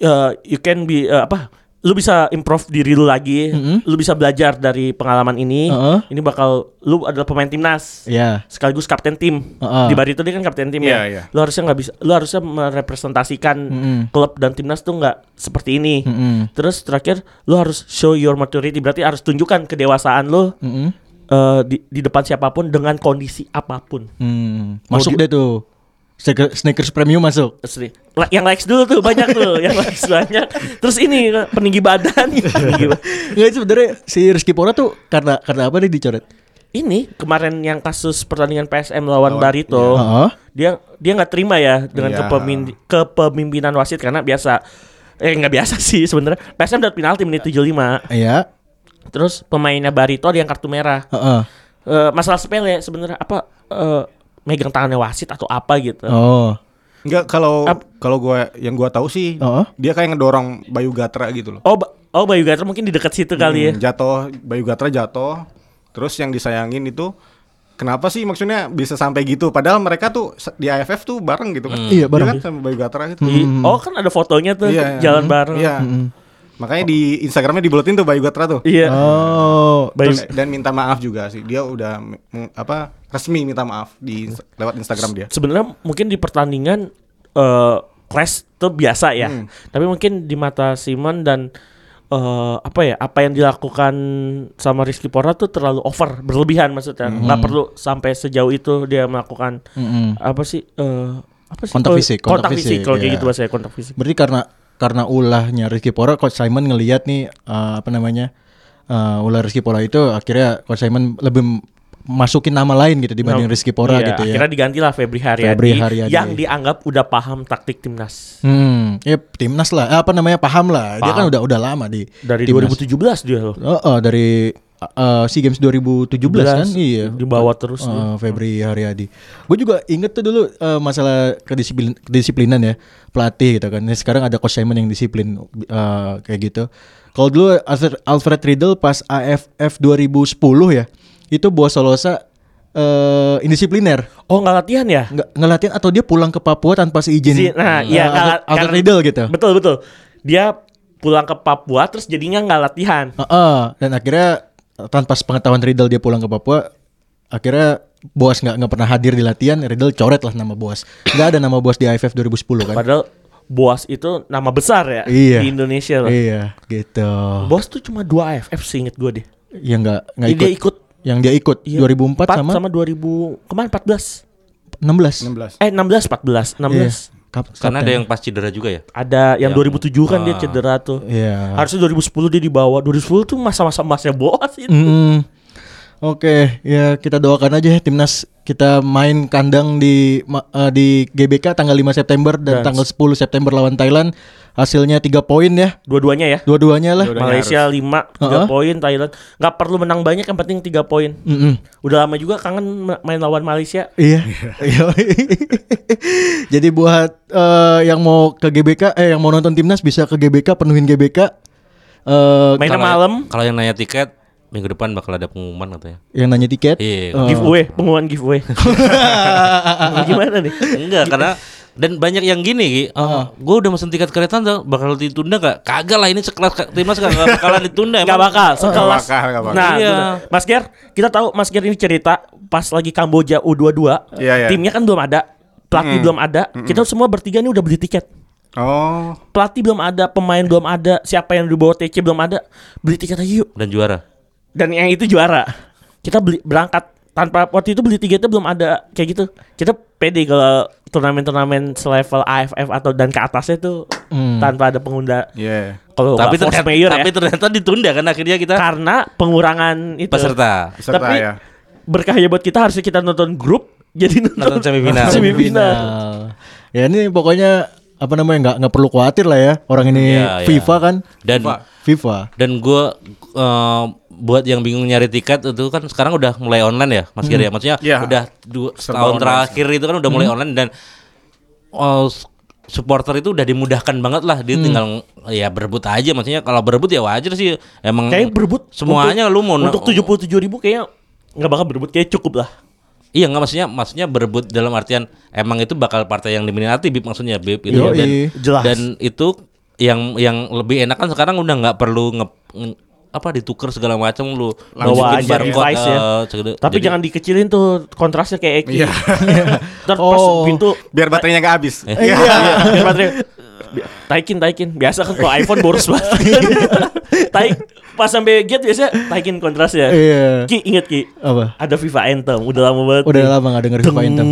E: eh, you can be eh, apa lu bisa improve diri lu lagi lu bisa belajar dari pengalaman ini
D: Heeh.
E: ini bakal lu adalah pemain timnas
D: Iya.
E: sekaligus kapten tim
D: Heeh.
E: di Barito dia kan kapten tim
F: Iya,
E: ya
F: iya.
E: lu harusnya nggak bisa lu harusnya merepresentasikan klub dan timnas tuh nggak seperti ini
D: Hmm,
E: terus terakhir lu harus show your maturity berarti harus tunjukkan kedewasaan lu
D: Hmm.
E: eh, di, di depan siapapun dengan kondisi apapun
D: Hmm, masuk deh tuh. Sneaker- Sneakers premium masuk.
E: Asli. La- Yang likes dulu tuh banyak tuh, yang likes banyak. Terus ini peninggi badan. Peninggi ba-
D: Nggak sebenarnya si Rizky Pora tuh karena karena apa nih dicoret?
E: ini kemarin yang kasus pertandingan PSM lawan
D: iya,
E: Barito.
D: Heeh.
E: Dia dia nggak terima ya dengan
F: Iya.
E: kepemin- kepemimpinan wasit karena biasa eh nggak biasa sih sebenarnya. PSM dapat penalti menit 75.
D: Iya.
E: Terus pemainnya Barito ada yang kartu merah.
D: Heeh.
E: Eh, masalah sepele sebenarnya apa eh, megang tangannya wasit atau apa gitu.
D: Oh.
F: Enggak kalau
E: Ap-
F: kalau gua yang gua tahu sih
D: Heeh.
F: dia kayak ngedorong Bayu Gatra gitu loh.
E: Oh, Ba- oh Bayu Gatra mungkin di dekat situ kali ya.
F: Hmm, Jatuh Bayu Gatra jatuh. Terus yang disayangin itu kenapa sih maksudnya bisa sampai gitu? Padahal mereka tuh se- di AFF tuh bareng gitu kan.
E: Hmm.
D: Iya, bareng.
F: kan sama Bayu Gatra gitu.
E: Di- Oh kan ada fotonya tuh
F: Iya,
E: jalan
F: iya.
E: bareng. Hmm.
F: Iya. Makanya di Instagramnya dibuletin tuh Bayu Gatra tuh.
E: Iya.
D: Oh.
E: Bayu-
F: Terus- dan minta maaf juga sih. Dia udah mm, apa resmi minta maaf di ins- lewat Instagram dia.
E: Sebenarnya mungkin di pertandingan eh clash tuh biasa ya.
D: Hmm.
E: Tapi mungkin di mata Simon dan eh apa ya apa yang dilakukan sama Rizky Pora tuh terlalu over berlebihan maksudnya
D: Hmm.
E: nggak perlu sampai sejauh itu dia melakukan
D: Mm-mm.
E: apa sih eh apa sih
D: Hmm. Kontak
E: Kalau-
D: fisik,
E: kontak,
D: kontak
E: fisik,
D: fisik,
E: kalau kayak
D: iya.
E: gitu bahasanya kontak fisik
D: Berarti karena karena ulahnya Rizky Pora, Coach Simon ngelihat nih eh, apa namanya eh, ulah Rizky Pora itu akhirnya Coach Simon lebih m- masukin nama lain gitu dibanding
E: Nah,
D: Rizky Pora
E: iya,
D: gitu ya.
E: akhirnya digantilah Febri Haryadi,
D: Febri Haryadi.
E: yang dianggap udah paham taktik timnas
D: Hmm, ya timnas lah, Eh, apa namanya paham lah. Dia kan udah udah lama di
E: dari
D: timnas.
E: 2017 dia loh
D: Oh, oh, dari eh, SEA Games 2017 kan? Iya.
E: dibawa terus dia.
D: Eh, Febri Haryadi. Gue juga inget tuh dulu eh, masalah kedisiplin kedisiplinan ya pelatih gitu kan. Nah, sekarang ada coach Simon yang disiplin eh, kayak gitu. Kalau dulu Alfred, Alfred Riedel pas AFF 2010 ya itu buat Solosa eh, indisipliner
E: oh nggak latihan ya
D: nggak ngelatihan atau dia pulang ke Papua tanpa seizin.
E: Izin. Nah,
D: Eh,
E: iya nggak
D: Alfred,
E: la-
D: Alfred
E: karena-
D: Riedel gitu.
E: Betul betul. Dia pulang ke Papua terus jadinya nggak latihan.
D: Heeh, dan akhirnya eh, tanpa pengetahuan Riddle dia pulang ke Papua, akhirnya Boas nggak nggak pernah hadir di latihan, Riddle coret lah nama Boas. Nggak ada nama Boas di AFF 2010 kan?
E: Padahal Boas itu nama besar ya
D: iya.
E: di Indonesia loh.
D: Iya, gitu.
E: Boas tuh cuma dua AFF seinget gue deh.
D: Yang nggak nggak
E: Jadi
D: ikut.
E: Iya, dia ikut
D: Yang dia ikut
E: iya,
D: 2004
E: empat
D: sama,
E: sama 2000 kemarin
D: 16.
E: 14.
F: 16.
E: Eh 16 14 16.
D: Iya. Kap-
C: Karena ada
D: kapten.
C: yang pas cedera juga ya.
E: Ada yang,
C: Yang-
E: 2007 kan dia
C: ah.
E: cedera tuh.
D: Iya.
E: Harusnya 2010 dia dibawa. 2010 tuh masa-masa emasnya Boas itu.
D: Mm. Oke, ya kita doakan aja ya timnas kita main kandang di ma- eh, di GBK tanggal 5 September dan
E: Dan-
D: tanggal 10 September lawan Thailand. Hasilnya 3 poin ya.
E: Dua-duanya ya.
D: Dua-duanya lah.
F: Dua-duanya
E: Malaysia 5 3
D: Heeh.
E: poin, Thailand nggak perlu menang banyak yang penting 3 poin.
D: Mm-mm.
E: Udah lama juga kangen ma- main lawan Malaysia.
D: Iya. Iya. Jadi buat eh, yang mau ke GBK eh yang mau nonton timnas bisa ke GBK penuhin GBK. Eh
E: Mainnya
C: Kalau-
E: malam.
C: Kalau yang nanya tiket minggu depan bakal ada pengumuman katanya.
D: yang nanya tiket.
C: Iya.
F: Oh.
D: Eh,
E: Giveaway, pengumuman giveaway. Nah, Gimana nih?
C: Enggak karena dan banyak yang gini Ki. gue udah mesen tiket kereta ntar bakal ditunda nggak? Kagak lah ini sekelas ka- timnas nggak nggak bakalan ditunda.
E: Gak
C: emang.
E: bakal sekelas.
F: bakal, nggak bakal.
E: Nah,
C: Iya.
E: itu dah. Mas Ger, kita tahu Mas Ger ini cerita pas lagi Kamboja U22,
F: Iya, iya.
E: timnya kan belum ada, pelatih belum ada. Kita semua bertiga ini udah beli tiket.
F: Oh.
E: Pelatih belum ada, pemain belum ada, siapa yang dibawa TC belum ada. Beli tiket aja yuk.
C: Dan juara.
E: Dan yang itu juara. Kita beli berangkat tanpa waktu itu beli tiketnya belum ada kayak gitu. Kita pede kalau turnamen-turnamen selevel AFF atau dan ke atasnya tuh tanpa ada pengunda
F: Iya.
C: Hmm.
E: kalau
C: tapi
E: nggak force ya.
C: ternyata,
E: majeure
C: tapi ternyata ditunda kan akhirnya kita
E: karena pengurangan itu
C: peserta.
F: Peserta,
E: tapi
F: ya.
E: berkahnya buat kita harusnya kita nonton grup jadi nonton,
C: Nonton semifinal.
E: semifinal.
D: Ya ini pokoknya apa namanya nggak nggak perlu khawatir lah ya orang ini
C: Iya, iya.
D: FIFA kan
C: Dan
D: FIFA.
C: dan gue buat yang bingung nyari tiket itu kan sekarang udah mulai online ya Mas Giri ya
E: Hmm.
C: maksudnya
F: Iya.
C: udah dua
F: Serba
C: setahun
F: online. iya.
C: terakhir itu kan udah mulai online dan oh, s- supporter itu udah dimudahkan banget lah
E: Hmm.
C: dia tinggal ya berebut aja maksudnya kalau berebut ya wajar sih emang
E: kayaknya berebut
C: semuanya
E: untuk,
C: lu mau
E: untuk tujuh puluh tujuh ribu kayaknya nggak bakal berebut kayak cukup lah
C: Iya nggak maksudnya maksudnya berebut dalam artian emang itu bakal partai yang diminati bib maksudnya bib itu
D: Yoi.
C: dan
E: Jelas.
C: dan itu yang yang lebih enak kan sekarang udah nggak perlu nge, nge- apa ditukar segala macam lu
E: bawa
C: masukin
E: aja device ya
C: eh, segede-
E: tapi
C: jadi-
E: jangan dikecilin tuh kontrasnya kayak Eki
F: Iya.
E: Ntar pas
D: Oh.
E: pintu
C: Eh,
F: Biar baterainya nggak habis.
D: Iya.
E: biar baterai- Taikin, taikin. Biasa kan kalau iPhone boros banget. Taik pas sampai gate biasa taikin kontras ya.
D: Iya.
E: Ki inget Ki.
D: Apa?
E: Ada FIFA Anthem, udah lama banget.
D: Udah
E: nih.
D: lama gak denger Viva
E: Deng.
D: Anthem.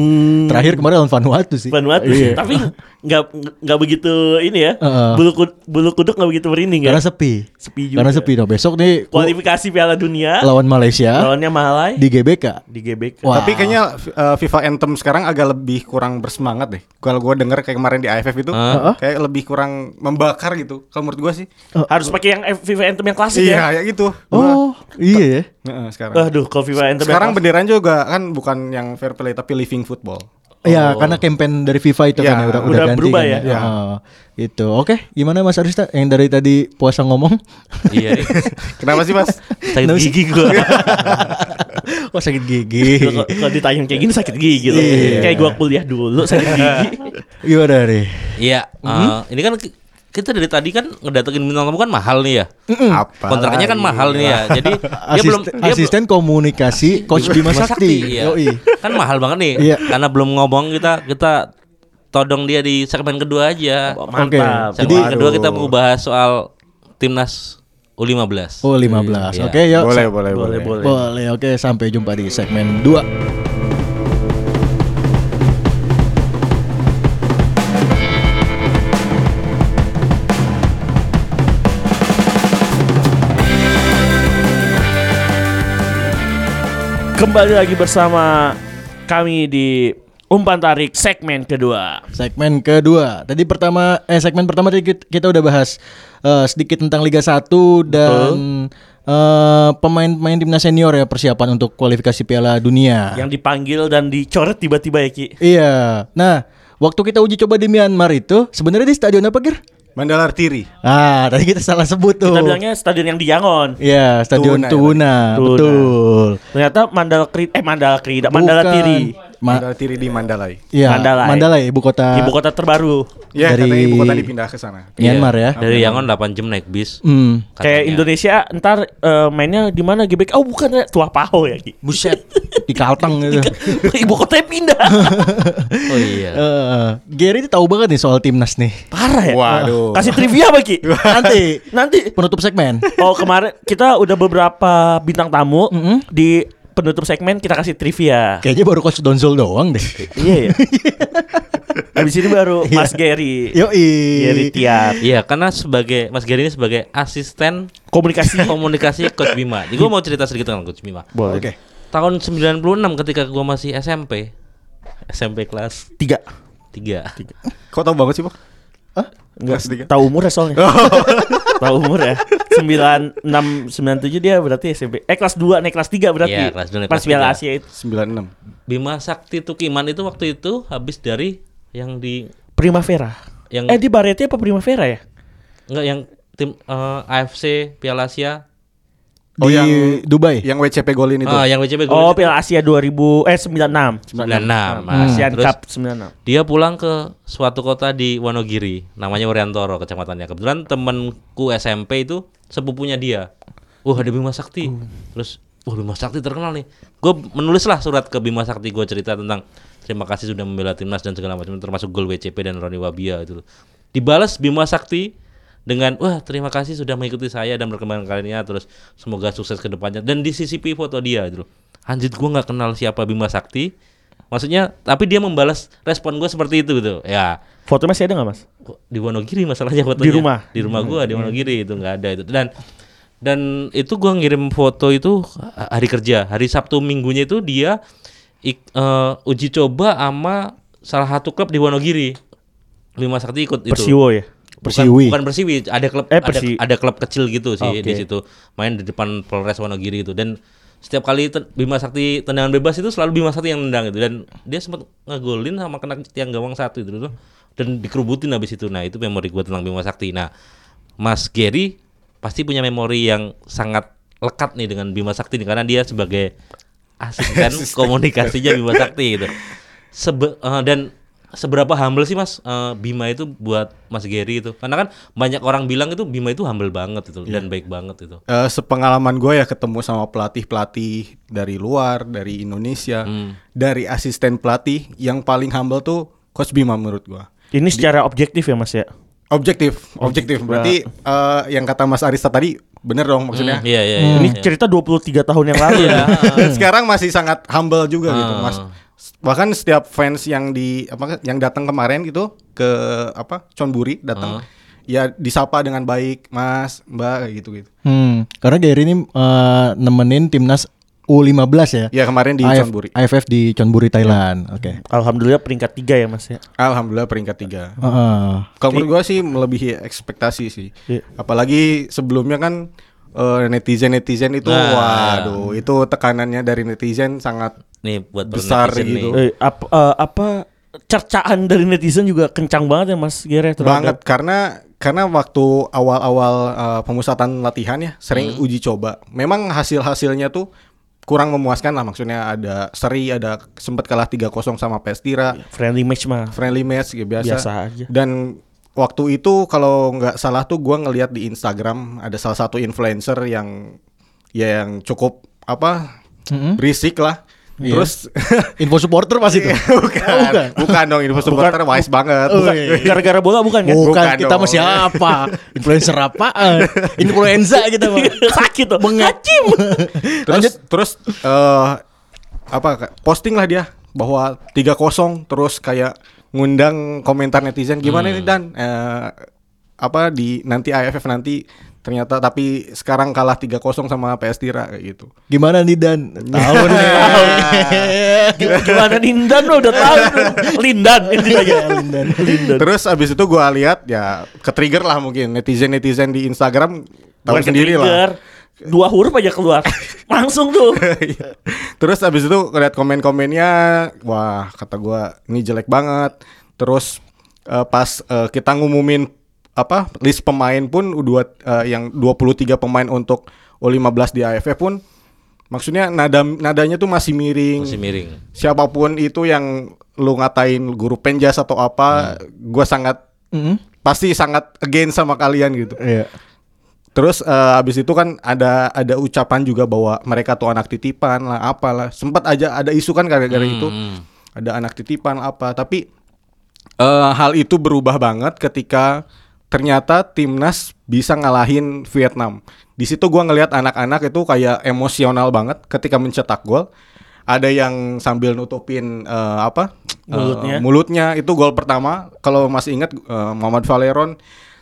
D: Terakhir kemarin lawan Vanuatu sih.
E: Vanuatu
D: Iya.
E: sih, tapi ya. nggak nggak begitu ini ya.
D: Heeh.
E: Bulu, kud- bulu kuduk nggak begitu merinding ya.
D: Karena sepi.
E: Sepi juga.
D: Karena sepi. Nah, besok nih gua
E: Kualifikasi Piala Dunia
D: lawan Malaysia
E: lawannya Malai
D: di GBK.
E: di GBK.
D: Wah.
F: Tapi kayaknya uh, FIFA Anthem sekarang agak lebih kurang bersemangat deh. Kalau gua denger kayak kemarin di AFF itu
C: Heeh.
F: kayak lebih kurang membakar gitu. Kalau menurut gua sih.
E: Harus pakai yang FIFA Anthem yang klasik
F: Iya,
E: ya. Eh,
F: ya gitu. Gua-
D: Oh, iya ya.
F: Heeh, sekarang.
E: Waduh, kalau FIFA Anthem yang
F: sekarang
E: klasik.
F: benderanya juga kan bukan yang fair play tapi living football.
D: Iya, karena campaign dari FIFA itu
F: Iya,
D: kan ya, udah,
E: udah
D: ganti
E: berubah
D: kan
E: ya?
F: Iya.
D: Oh, gitu. Oke, gimana Mas Arista yang dari tadi puasa ngomong?
C: Iya, Rik.
F: Kenapa sih, Mas?
C: sakit gigi gua.
D: Wah sakit gigi.
E: Kalau- Kalau ditanya kayak gini sakit gigi loh.
D: Iya.
E: Kayak gua kuliah dulu sakit gigi.
D: Gimana nih?
C: Iya, eh, ini kan ki- kita dari tadi kan ngedatengin bintang tamu kan mahal nih ya.
F: Apa?
C: Kontraknya kan mahal nih ya. Jadi dia belum
D: Asisten,
C: dia belum-
D: asisten komunikasi Coach Bima Sakti.
C: iya.
D: Yoi.
C: Kan mahal banget nih.
D: Iya.
C: Karena belum ngomong kita kita todong dia di segmen kedua aja.
E: Mantap.
D: Jadi
C: Segmen kedua kita
F: Waduh.
C: mau bahas soal timnas U15.
D: oh 15.
C: Iya.
D: Oke, yuk.
F: Boleh, boleh,
E: Boleh,
F: boleh.
E: boleh.
D: Boleh, oke sampai jumpa di segmen 2.
E: Kembali lagi bersama kami di umpan tarik segmen kedua.
D: Segmen kedua. Tadi pertama eh segmen pertama tadi kit- kita udah bahas eh, sedikit tentang Liga 1 dan eh, pemain-pemain timnas senior ya persiapan untuk kualifikasi Piala Dunia.
E: Yang dipanggil dan dicoret tiba-tiba ya Ki.
D: Iya. Nah, waktu kita uji coba di Myanmar itu sebenarnya di stadion apa, Gir?
F: Mandala Artiri.
D: Ah, tadi kita salah sebut tuh.
E: Kita bilangnya stadion yang di Yangon.
D: Iya, stadion
F: Tuna ya,
D: Tuna,
E: Tuna.
D: betul.
E: Ternyata Mandala Kri eh Mandala Kri, Mandala
D: Bukan.
E: Tiri.
D: Ma-
F: Mandala Artiri di Mandalay.
D: iya,
E: Mandalay.
D: Mandalay. ibu kota
E: Ibu kota terbaru.
F: Ya,
D: Dari-
F: katanya ibu kota dipindah ke sana.
D: Myanmar
E: Iya.
D: ya.
C: Iya. Dari Yangon 8 jam naik bis.
D: Hmm.
E: Kayak
C: Katanya.
E: Indonesia ntar eh, mainnya di mana GBK? Oh bukan ya, Tua Paho ya Ki.
D: Buset, di Kalteng gitu.
E: Ibu kotanya pindah.
C: Oh iya.
D: Eh, Gary ini tahu banget nih soal timnas nih.
E: Parah ya.
F: Waduh.
E: Kasih trivia apa Ki?
D: Nanti
E: Nanti
D: penutup segmen.
E: Oh kemarin kita udah beberapa bintang tamu di penutup segmen kita kasih trivia.
D: Kayaknya baru coach Donzol doang deh.
E: Iya ya. Habis ini baru Mas Gary.
D: Yoi.
E: Gary Tiap.
C: Iya, karena sebagai Mas Gary ini sebagai asisten
E: Komunikasi.
C: komunikasi Coach Bima. Jadi gua mau cerita sedikit tentang Coach Bima.
D: Oke.
C: Tahun 96 ketika gua masih SMP. SMP kelas
E: Tiga.
C: 3.
F: Kok tau banget sih, Pak? Kelas
E: Enggak.
F: tiga.
E: Tahu umur ya soalnya. Tahu umur ya. Sembilan enam sembilan tujuh dia berarti SMP. Eh kelas dua naik kelas tiga berarti.
C: Iya, kelas dua naik
E: Pas
C: kelas tiga.
E: Piala Asia itu.
F: 96.
C: Bima Sakti Tukiman itu waktu itu habis dari yang di
E: Primavera.
C: Yang-
E: Eh di Barete apa Primavera ya?
C: enggak yang tim eh, AFC Piala Asia.
D: Di Dubai.
F: Oh, Yang WCP golin itu.
C: Ah, yang WCB gol
E: Oh
C: itu.
E: Piala Asia 2000 eh 96.
C: 96. Nah,
E: Asian
C: terus
E: Cup 96.
C: Iya. dia pulang ke suatu kota di Wonogiri, namanya Woriantoro kecamatannya. Kebetulan temanku SMP itu sepupunya dia. Wah, ada Bima Sakti. Terus, wah Bima Sakti terkenal nih. Gue menulislah surat ke Bima Sakti gue cerita tentang terima kasih sudah membela timnas dan segala macam termasuk gol WCP dan Roni Wabia itu. Dibalas Bima Sakti dengan wah terima kasih sudah mengikuti saya dan perkembangan karirnya terus semoga sukses ke depannya dan di CCP foto dia gitu. Anjir gue nggak kenal siapa Bima Sakti Maksudnya, tapi dia membalas respon gue seperti itu gitu. Ya,
E: Foto masih ada nggak mas?
C: kok di Wonogiri masalahnya fotonya.
E: Di rumah? Hmm.
C: Di rumah gue di Wonogiri itu nggak ada itu. Dan dan itu gue ngirim foto itu hari kerja, hari Sabtu minggunya itu dia ik- eh, uji coba sama salah satu klub di Wonogiri. Bima Sakti ikut itu.
E: Persiwo ya.
D: Persiwi.
C: Bukan, bukan Persiwi, ada klub ada,
E: Eh, Persi-
C: ada klub kecil gitu sih
E: Oke.
C: di situ. Main di depan Polres Wonogiri itu dan setiap kali ten- Bima Sakti tendangan bebas itu selalu Bima Sakti yang nendang itu dan dia sempat ngegolin sama kena tiang gawang satu itu tuh dan dikerubutin habis itu. Nah, itu memori gua tentang Bima Sakti. Nah, Mas Gary pasti punya memori yang sangat lekat nih dengan Bima Sakti nih, karena dia sebagai asisten komunikasinya Bima Sakti gitu. Sebe- eh, dan seberapa humble sih Mas eh, Bima itu buat Mas Gary itu? Karena kan banyak orang bilang itu Bima itu humble banget itu
F: Iya.
C: dan baik banget gitu. itu.
F: Eh, sepengalaman gue ya ketemu sama pelatih-pelatih dari luar, dari Indonesia,
C: Hmm.
F: dari asisten pelatih yang paling humble tuh Coach Bima menurut gue.
E: Ini secara objektif ya mas ya.
F: Objektif, objektif. Berarti eh, yang kata Mas Arista tadi bener dong maksudnya. Hmm.
C: Iya iya iya.
E: Ini cerita 23 tahun yang lalu
F: Iya.
E: ya.
F: Dan sekarang masih sangat humble juga gitu, Mas. Bahkan setiap fans yang di apa yang datang kemarin gitu ke apa Chonburi datang ya disapa dengan baik, Mas, Mbak kayak gitu, gitu-gitu.
D: Hmm, karena Gary ini eh, nemenin timnas U15 ya.
F: Ya kemarin di
D: AF
F: Chonburi. Iya.
D: AFF di Chonburi Thailand. Oke.
E: Alhamdulillah peringkat 3 ya Mas ya.
F: Alhamdulillah peringkat tiga.
D: Heeh.
F: Kalau menurut gua sih melebihi ekspektasi sih.
E: Iya.
F: Apalagi sebelumnya kan netizen netizen itu waduh itu tekanannya dari netizen sangat
C: Nih buat para
F: Besar
C: netizen
F: gitu.
E: Eh, ap- eh, apa cercaan dari netizen juga kencang banget ya Mas Gere
F: banget
E: terhadap-
F: karena karena waktu awal-awal eh, pemusatan latihan ya sering uji coba. Memang hasil-hasilnya tuh kurang memuaskan lah maksudnya ada seri ada sempat kalah 3-0 sama Pestira.
E: friendly match mah.
F: friendly match gitu Iya. biasa.
E: Biasa aja.
F: Dan waktu itu kalau nggak salah tuh gua ngelihat di Instagram ada salah satu influencer yang ya yang cukup apa berisik lah. Terus
D: Info supporter pasti
F: Iya.
D: itu.
F: bukan, Iya. Oh, bukan dong info supporter wise banget. Bukan.
E: Gara-gara bola bukan ya?
D: Bukan,
F: iya, Bukan
D: kita
F: dong.
D: masih apa? Influencer apaan? Influenza kita mah.
E: Sakit tuh.
D: Mengacim.
F: Terus
D: Lanjut.
F: terus eh, apa posting lah dia bahwa 3-0 terus kayak ngundang komentar netizen gimana nih Dan Eh, apa di nanti AFF nanti ternyata tapi sekarang kalah 3-0 sama PS Tira kayak gitu.
D: Gimana nih Dan? Tahu nih.
E: Gimana gimana Lindan lo udah tahu tuh. Lindan ini
F: Iya,
E: aja.
D: Lindan.
E: Lindan.
F: Terus abis itu gua lihat ya ketrigger lah mungkin netizen-netizen di Instagram tahu
E: Bukan
F: sendiri
E: trigger.
F: lah.
E: Dua huruf aja keluar. Langsung tuh.
F: Iya. Terus abis itu lihat komen-komennya, wah kata gua ini jelek banget. Terus eh, pas eh, kita ngumumin apa list pemain pun U2 eh, yang 23 pemain untuk U15 di AFF pun maksudnya nada nadanya tuh masih miring.
C: Masih miring.
F: Siapapun itu yang lu ngatain guru penjas atau apa, gua sangat
D: Mm-mm.
F: pasti sangat against sama kalian gitu.
D: Iya.
F: Terus eh, abis itu kan ada ada ucapan juga bahwa mereka tuh anak titipan lah apalah. Sempat aja ada isu kan gara-gara itu ada anak titipan apa. Tapi eh, hal itu berubah banget ketika ternyata timnas bisa ngalahin Vietnam. Di situ gua ngelihat anak-anak itu kayak emosional banget ketika mencetak gol. Ada yang sambil nutupin eh, apa eh,
E: Mulutnya.
F: mulutnya itu gol pertama. Kalau masih ingat eh, Muhammad Valeron.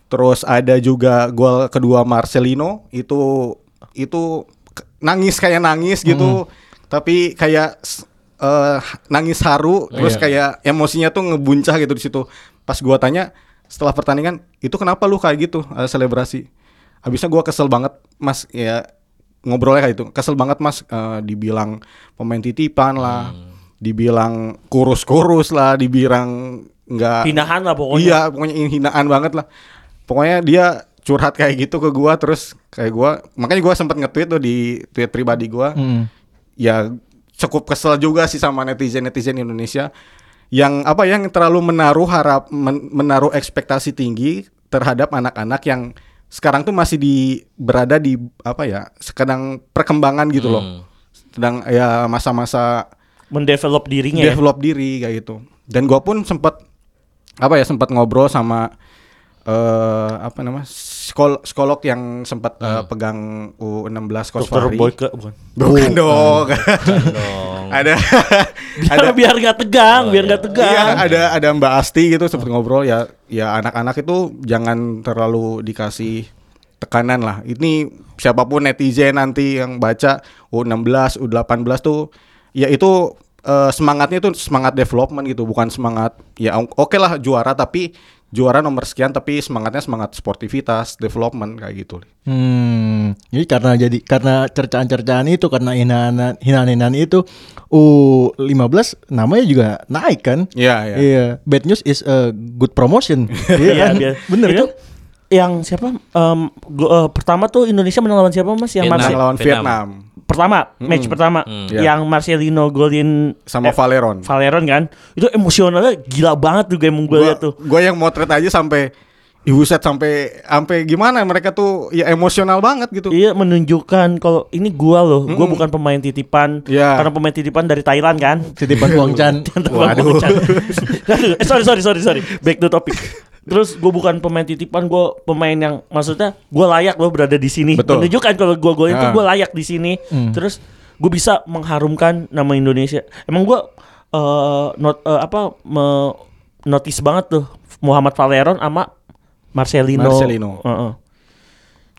F: Terus ada juga gol kedua Marcelino itu itu k- nangis kayak nangis gitu. Tapi kayak s- eh, nangis haru terus kayak emosinya tuh ngebuncah gitu di situ. Pas gua tanya setelah pertandingan, "Itu kenapa lu kayak gitu eh, selebrasi?" Habisnya gua kesel banget, Mas. Ya ngobrolnya kayak itu. Kesel banget, Mas, eh, dibilang pemain titipan lah. Dibilang kurus-kurus lah, dibilang nggak
E: Pinahan lah pokoknya.
F: Iya, pokoknya ini hinaan banget lah. Pokoknya dia curhat kayak gitu ke gua terus kayak gua makanya gua sempat nge-tweet tuh di tweet pribadi gua. Ya cukup kesel juga sih sama netizen-netizen Indonesia yang apa yang terlalu menaruh harap men- menaruh ekspektasi tinggi terhadap anak-anak yang sekarang tuh masih di berada di apa ya, sekarang perkembangan gitu loh. Sedang ya masa-masa
E: Mendevelop dirinya ya.
F: develop diri kayak gitu. Dan gua pun sempat apa ya sempat ngobrol sama eh apa nama skol psikolog yang sempat eh, pegang U16
E: Dokter
F: Kosvari.
E: Boyke bukan.
F: Bukan dong. ada
E: Biar,
F: ada
E: biar gak tegang, biar gak tegang.
F: Iya, ada ada Mbak Asti gitu sempat ngobrol ya ya anak-anak itu jangan terlalu dikasih tekanan lah. Ini siapapun netizen nanti yang baca oh, U16, U18 tuh ya itu eh, semangatnya itu semangat development gitu, bukan semangat ya o- oke lah juara tapi juara nomor sekian tapi semangatnya semangat sportivitas, development kayak gitu.
D: Hmm, jadi karena jadi karena cercaan-cercaan itu karena hinaan hinaan itu U15 namanya juga naik kan?
F: Iya, iya.
D: Iya, bad news is a good promotion. Iya kan?
E: biar-
D: Bener
E: itu
D: kan?
E: Yang siapa? Em, go- eh, pertama tuh Indonesia menang lawan siapa Mas? Yang
C: Vietnam.
E: Marse-
F: Menang lawan
C: Vietnam.
F: Vietnam
E: pertama
D: Hmm.
E: match pertama
D: Iya.
E: yang Marcelino golin
F: sama
E: eh,
F: Valeron.
E: Valeron kan. Itu emosionalnya gila banget tuh game gue liat tuh.
F: Gue yang motret aja sampai Ibu set sampai sampai gimana mereka tuh ya emosional banget gitu.
E: Iya menunjukkan kalau ini gua loh, gua
D: Hmm.
E: bukan pemain titipan.
F: Iya.
E: Karena pemain titipan dari Thailand kan.
D: Titipan uang Chan.
E: Waduh. eh, sorry sorry sorry sorry. Back to topic. Terus gue bukan pemain titipan, gue pemain yang maksudnya gue layak loh berada di sini.
F: Betul.
E: Menunjukkan kalau gue golin itu
F: Ah. Hmm.
E: gue layak di sini. Terus gue bisa mengharumkan nama Indonesia. Emang gue eh not eh, apa me- notice banget tuh Muhammad Valeron sama Marcelino.
F: Marcelino.
E: Heeh.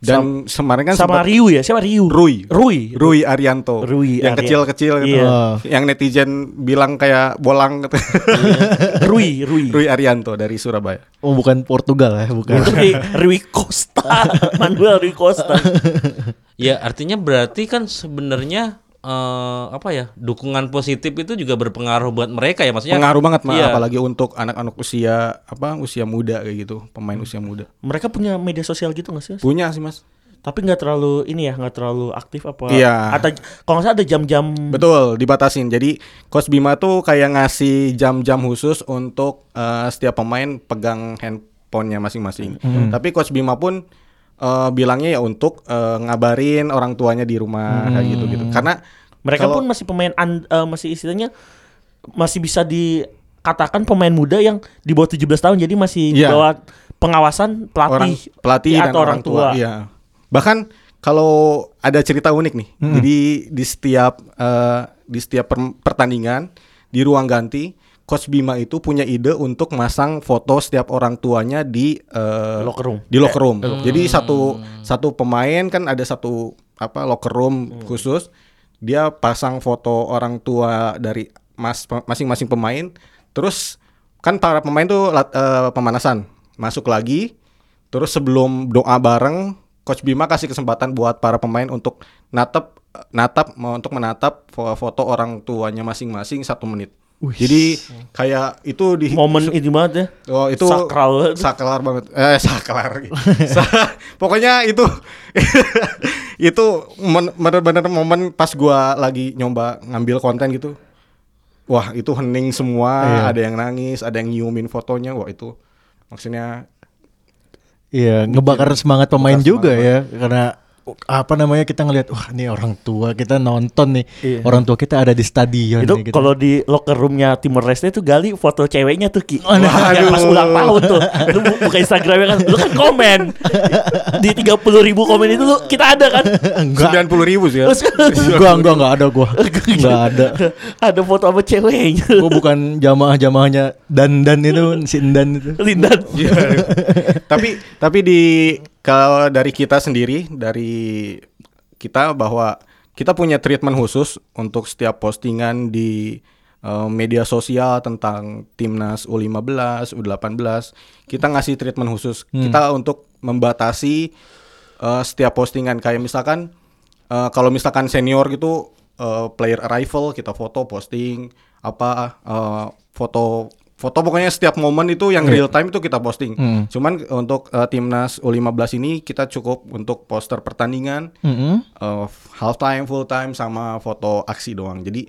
F: Dan kemarin kan
E: sama
F: sempat-
E: Ryu ya, siapa Ryu?
F: Rui.
E: Rui.
F: Rui Arianto.
E: Rui
F: yang
E: Arianto.
F: kecil-kecil gitu.
E: Iya.
D: Oh.
F: Yang netizen bilang kayak bolang gitu.
E: Rui, Rui.
F: Rui Arianto dari Surabaya.
D: Oh bukan Portugal ya, bukan.
E: Rui, Rui Costa, Manuel Rui Costa.
C: Ya artinya berarti kan sebenarnya eh, apa ya dukungan positif itu juga berpengaruh buat mereka ya maksudnya.
F: Pengaruh banget mah
C: Iya.
F: apalagi untuk anak-anak usia apa usia muda kayak gitu, pemain usia muda.
E: Mereka punya media sosial gitu gak sih? Mas?
F: Punya sih, Mas.
E: Tapi nggak terlalu ini ya, nggak terlalu aktif apa?
F: Iya.
E: Atau kalau nggak salah ada jam-jam.
F: Betul, dibatasin. Jadi Coach Bima tuh kayak ngasih jam-jam khusus untuk eh, setiap pemain pegang handphonenya masing-masing.
E: Hmm.
F: Tapi Coach Bima pun eh, bilangnya ya untuk eh, ngabarin orang tuanya di rumah kayak gitu-gitu. Karena
E: Hmm. Mereka
F: kalau-
E: pun masih pemain an- eh, masih istilahnya masih bisa dikatakan pemain muda yang di bawah 17 tahun jadi masih di
F: Iya.
E: bawah pengawasan
F: orang
E: pelatih,
F: pelatih
E: ya,
F: dan
E: atau orang tua.
F: Iya. Bahkan kalau ada cerita unik nih.
E: Hmm.
F: Jadi di setiap eh, di setiap per- pertandingan di ruang ganti Coach Bima itu punya ide untuk masang foto setiap orang tuanya di eh,
E: Locker room. Hmm.
F: Di locker room. Jadi satu satu pemain kan ada satu apa locker room
E: Hmm.
F: khusus. Dia pasang foto orang tua dari mas pe- masing-masing pemain. Terus kan para pemain tuh lat- eh, pemanasan, masuk lagi. Terus sebelum doa bareng, coach Bima kasih kesempatan buat para pemain untuk natap natap mau untuk menatap fo- foto orang tuanya masing-masing satu menit. Jadi kayak itu di
E: Momen itu banget ya.
F: Oh itu
E: Sakral banget.
F: saklar banget. Eh saklar. Sa- Pokoknya itu itu men- bener-bener momen pas gua lagi nyoba ngambil konten gitu. Wah itu hening semua. Ada yang nangis, ada yang nyiumin fotonya. Wah itu maksudnya
D: Iya, ngebakar semangat pemain
F: ngebakar
D: juga
F: semangat.
D: ya karena apa namanya kita ngelihat wah ini orang tua kita nonton nih.
E: Iya.
D: Orang tua kita ada di
F: iya,
D: stadion
E: itu
D: nih gitu.
E: kalau di locker roomnya Timor Leste itu gali foto ceweknya tuh ki
F: Waduh.
E: Yang pas ulang tahun tuh lu bu- buka Instagramnya kan lu kan komen di 30.000 ribu komen itu lu kita ada kan
D: enggak
F: sembilan puluh ribu sih ya.
D: gua gua enggak ada gua. Enggak ada.
E: ada foto sama ceweknya
D: Gua bukan jamaah-jamaahnya Dandan itu si Endan itu.
E: Lindan
F: tapi tapi di kalau dari kita sendiri dari kita bahwa kita punya treatment khusus untuk setiap postingan di eh, media sosial tentang timnas U15, U18, kita ngasih treatment khusus. Kita untuk membatasi eh, setiap postingan kayak misalkan eh, kalau misalkan senior gitu eh, player arrival kita foto posting apa eh, foto foto pokoknya setiap momen itu yang real time itu kita posting. Cuman untuk eh, timnas U15 ini kita cukup untuk poster pertandingan, eh, half time, full time sama foto aksi doang. Jadi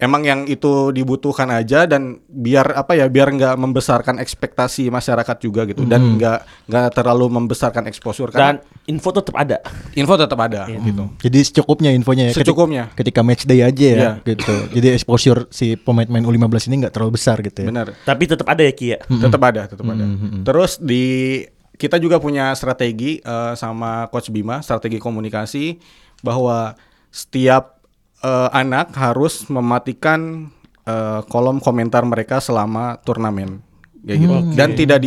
F: emang yang itu dibutuhkan aja dan biar apa ya biar nggak membesarkan ekspektasi masyarakat juga gitu dan nggak nggak terlalu membesarkan eksposur
E: dan
F: kan
E: info tetap ada
F: info tetap ada gitu.
D: Jadi secukupnya infonya ya. ketik-
F: Secukupnya.
D: Ketika match day aja ya
F: Iya.
D: gitu. Jadi exposure si pemain-pemain U15 ini enggak terlalu besar gitu ya.
F: Benar.
E: tapi tetap ada ya ki ya
F: Tetap ada, tetap ada. Terus di kita juga punya strategi eh, sama coach Bima, strategi komunikasi bahwa setiap eh, anak harus mematikan eh, kolom komentar mereka selama turnamen. Kayak gitu. Dan tidak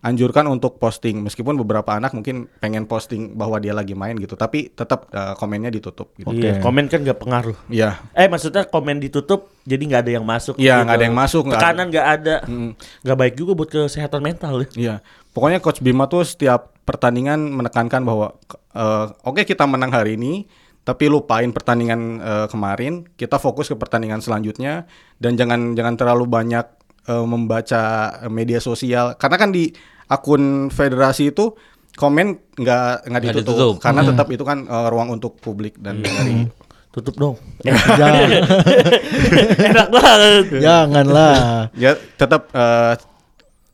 F: dianjurkan untuk posting meskipun beberapa anak mungkin pengen posting bahwa dia lagi main gitu, tapi tetap eh, komennya ditutup gitu.
E: Iya, komen kan gak pengaruh
F: Iya.
E: eh maksudnya komen ditutup jadi nggak ada yang masuk gitu.
F: Iya, nggak ada yang masuk, nggak ada.
E: tekanan nggak ada
F: Mm.
E: nggak baik juga buat kesehatan mental ya
F: Iya, pokoknya Coach Bima tuh setiap pertandingan menekankan bahwa eh, oke kita menang hari ini, tapi lupain pertandingan eh, kemarin, kita fokus ke pertandingan selanjutnya dan jangan jangan terlalu banyak eh, membaca media sosial karena kan di akun federasi itu komen nggak nggak
C: Nggak
F: ditutup,
C: ditutup.
F: karena tetap itu kan eh, ruang untuk publik dan dari
E: tutup dong
D: Jangan,
E: enak banget
D: janganlah.
F: ya tetap eh,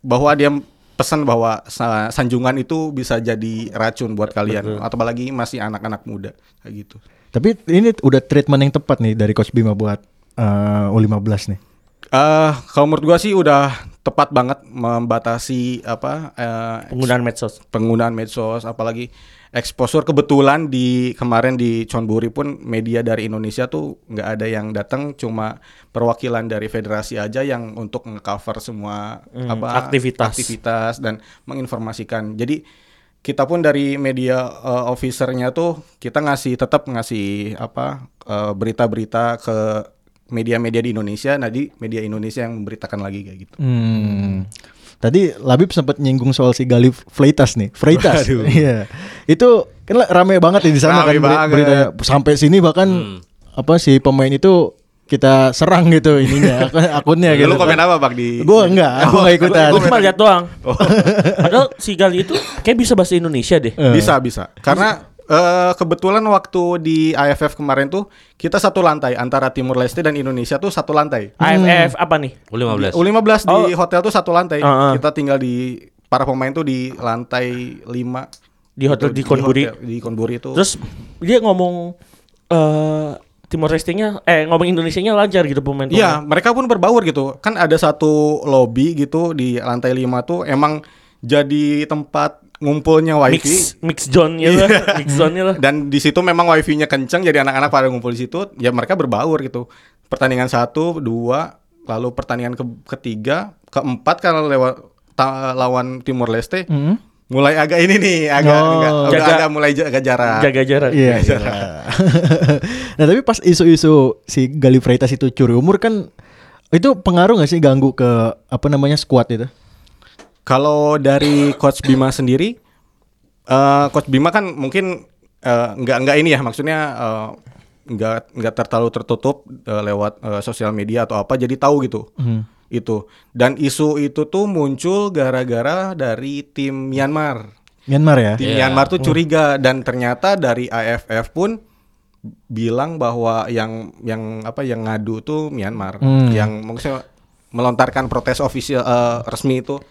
F: bahwa dia pesan bahwa sa- sanjungan itu bisa jadi racun buat kalian atau apalagi masih anak-anak muda kayak gitu.
D: Tapi ini udah treatment yang tepat nih dari Coach Bima buat eh, U15 nih.
F: Eh kalau menurut gua sih udah tepat banget membatasi apa eh,
E: Penggunaan medsos.
F: penggunaan medsos apalagi eksposur kebetulan di kemarin di Chonburi pun media dari Indonesia tuh nggak ada yang datang cuma perwakilan dari federasi aja yang untuk ngecover semua apa
E: aktivitas.
F: Hmm, aktivitas dan menginformasikan jadi kita pun dari media eh, officernya tuh kita ngasih tetap ngasih apa eh, berita-berita ke media-media di Indonesia nah di media Indonesia yang memberitakan lagi kayak gitu
D: Hmm. Tadi Labib sempat nyinggung soal si Galif Fleitas nih, Freitas. Iya. Itu kan la- rame banget ya di sana kan
F: Rame
D: beri-
F: banget. Hmm.
D: beritanya. Sampai sini bahkan apa si pemain itu kita serang gitu ininya akun- akunnya gitu.
F: lu komen apa Oh, bang di
D: Gue enggak, gue enggak ikutan.
E: Gue cuma lihat doang.
F: Oh.
E: Padahal si Gali itu kayak bisa bahasa Indonesia deh.
F: Bisa bisa. Karena eh, kebetulan waktu di AFF kemarin tuh kita satu lantai antara Timur Leste dan Indonesia tuh satu lantai.
E: AFF apa nih?
C: U15.
F: U15 di
E: Oh.
F: hotel tuh satu lantai.
E: Ah, ah.
F: Kita tinggal di para pemain tuh di lantai 5
E: Di hotel di Konburi.
F: Di Konburi itu.
E: Terus dia ngomong eh Timor Leste-nya eh ngomong Indonesianya lancar gitu pemain.
F: Iya, mereka pun berbaur gitu. Kan ada satu lobby gitu di lantai 5 tuh emang jadi tempat ngumpulnya wifi.
E: mix mix zone ya
F: Iya.
E: lah, mix zone-nya lah.
F: Dan di situ memang wifi-nya kencang jadi anak-anak pada ngumpul di situ, ya mereka berbaur gitu. Pertandingan satu, dua, lalu pertandingan ke- ketiga, keempat karena lewat ta- lawan Timor Leste, mulai agak ini nih, agak
D: Oh.
F: agak- udah
E: Mm-hmm. Jaga-
F: agak mulai jaga jarak.
E: Jaga jarak.
D: Iya. iya. nah, tapi pas isu-isu si Galif Freitas itu curi umur kan itu pengaruh gak sih ganggu ke apa namanya squad itu?
F: Kalau dari Coach Bima sendiri, eh Coach Bima kan mungkin eh, nggak nggak ini ya maksudnya eh, nggak nggak terlalu tertutup eh, lewat eh, sosial media atau apa, jadi tahu gitu itu. Dan isu itu tuh muncul gara-gara dari tim Myanmar.
D: Myanmar ya.
F: Tim
E: Iya.
F: Myanmar
E: Hmm.
F: tuh curiga dan ternyata dari AFF pun bilang bahwa yang yang apa yang ngadu tuh Myanmar,
E: Hmm.
F: yang maksudnya melontarkan protes official eh, resmi itu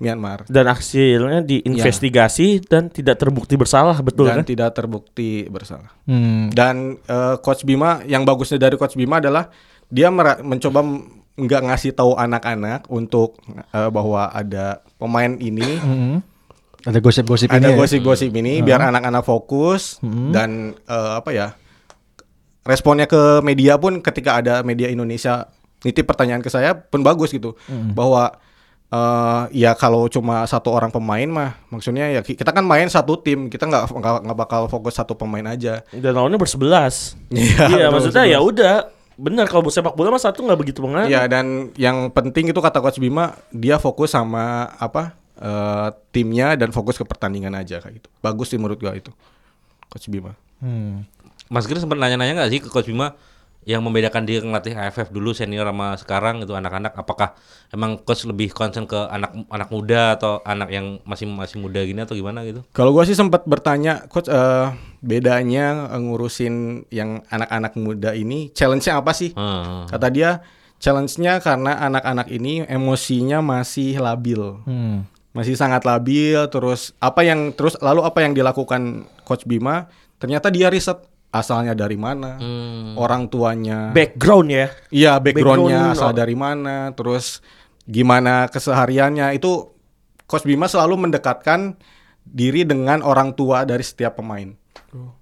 F: Myanmar
E: Dan hasilnya diinvestigasi dan tidak terbukti bersalah betul
F: Iya. dan
E: kan?
F: tidak terbukti bersalah.
D: Hmm.
F: Dan eh, coach Bima yang bagusnya dari coach Bima adalah dia mera- mencoba m- nggak ngasih tahu anak-anak untuk eh, bahwa ada pemain ini,
E: Hmm.
D: Mm-mm. hmm. Ada gosip-gosip ini.
F: ada
D: ya?
F: gosip-gosip ini biar anak-anak fokus dan eh, apa ya? Responnya ke media pun ketika ada media Indonesia nitip pertanyaan ke saya pun bagus gitu bahwa eh, ya kalau cuma satu orang pemain mah maksudnya ya ki- kita kan main satu tim kita nggak nggak- nggak bakal fokus satu pemain aja
E: Dan lawannya bersebelas. Iya,
F: Iya, betul,
E: maksudnya
F: bersebelas.
E: ya udah. Benar kalau sepak bola mah satu nggak begitu pengaruh.
F: Iya dan yang penting itu kata coach Bima dia fokus sama apa eh, timnya dan fokus ke pertandingan aja kayak gitu. Bagus sih menurut gua itu. Coach Bima.
D: Hmm.
C: Mas Giri sempat nanya-nanya nggak sih ke Coach Bima yang membedakan dia ngelatih AFF dulu senior sama sekarang itu anak-anak apakah emang coach lebih concern ke anak anak muda atau anak yang masih masih muda gini atau gimana gitu?
F: Kalau gua sih sempat bertanya coach eh, bedanya eh, ngurusin yang anak-anak muda ini challenge-nya apa sih?
C: Hmm.
F: Kata dia challenge-nya karena anak-anak ini emosinya masih labil.
D: Hmm.
F: masih sangat labil terus apa yang terus lalu apa yang dilakukan coach Bima ternyata dia riset asalnya dari mana orang tuanya
E: Background ya.
F: iya
E: background,
F: backgroundnya asal
E: oh.
F: dari mana terus gimana kesehariannya itu coach Bima selalu mendekatkan diri dengan orang tua dari setiap pemain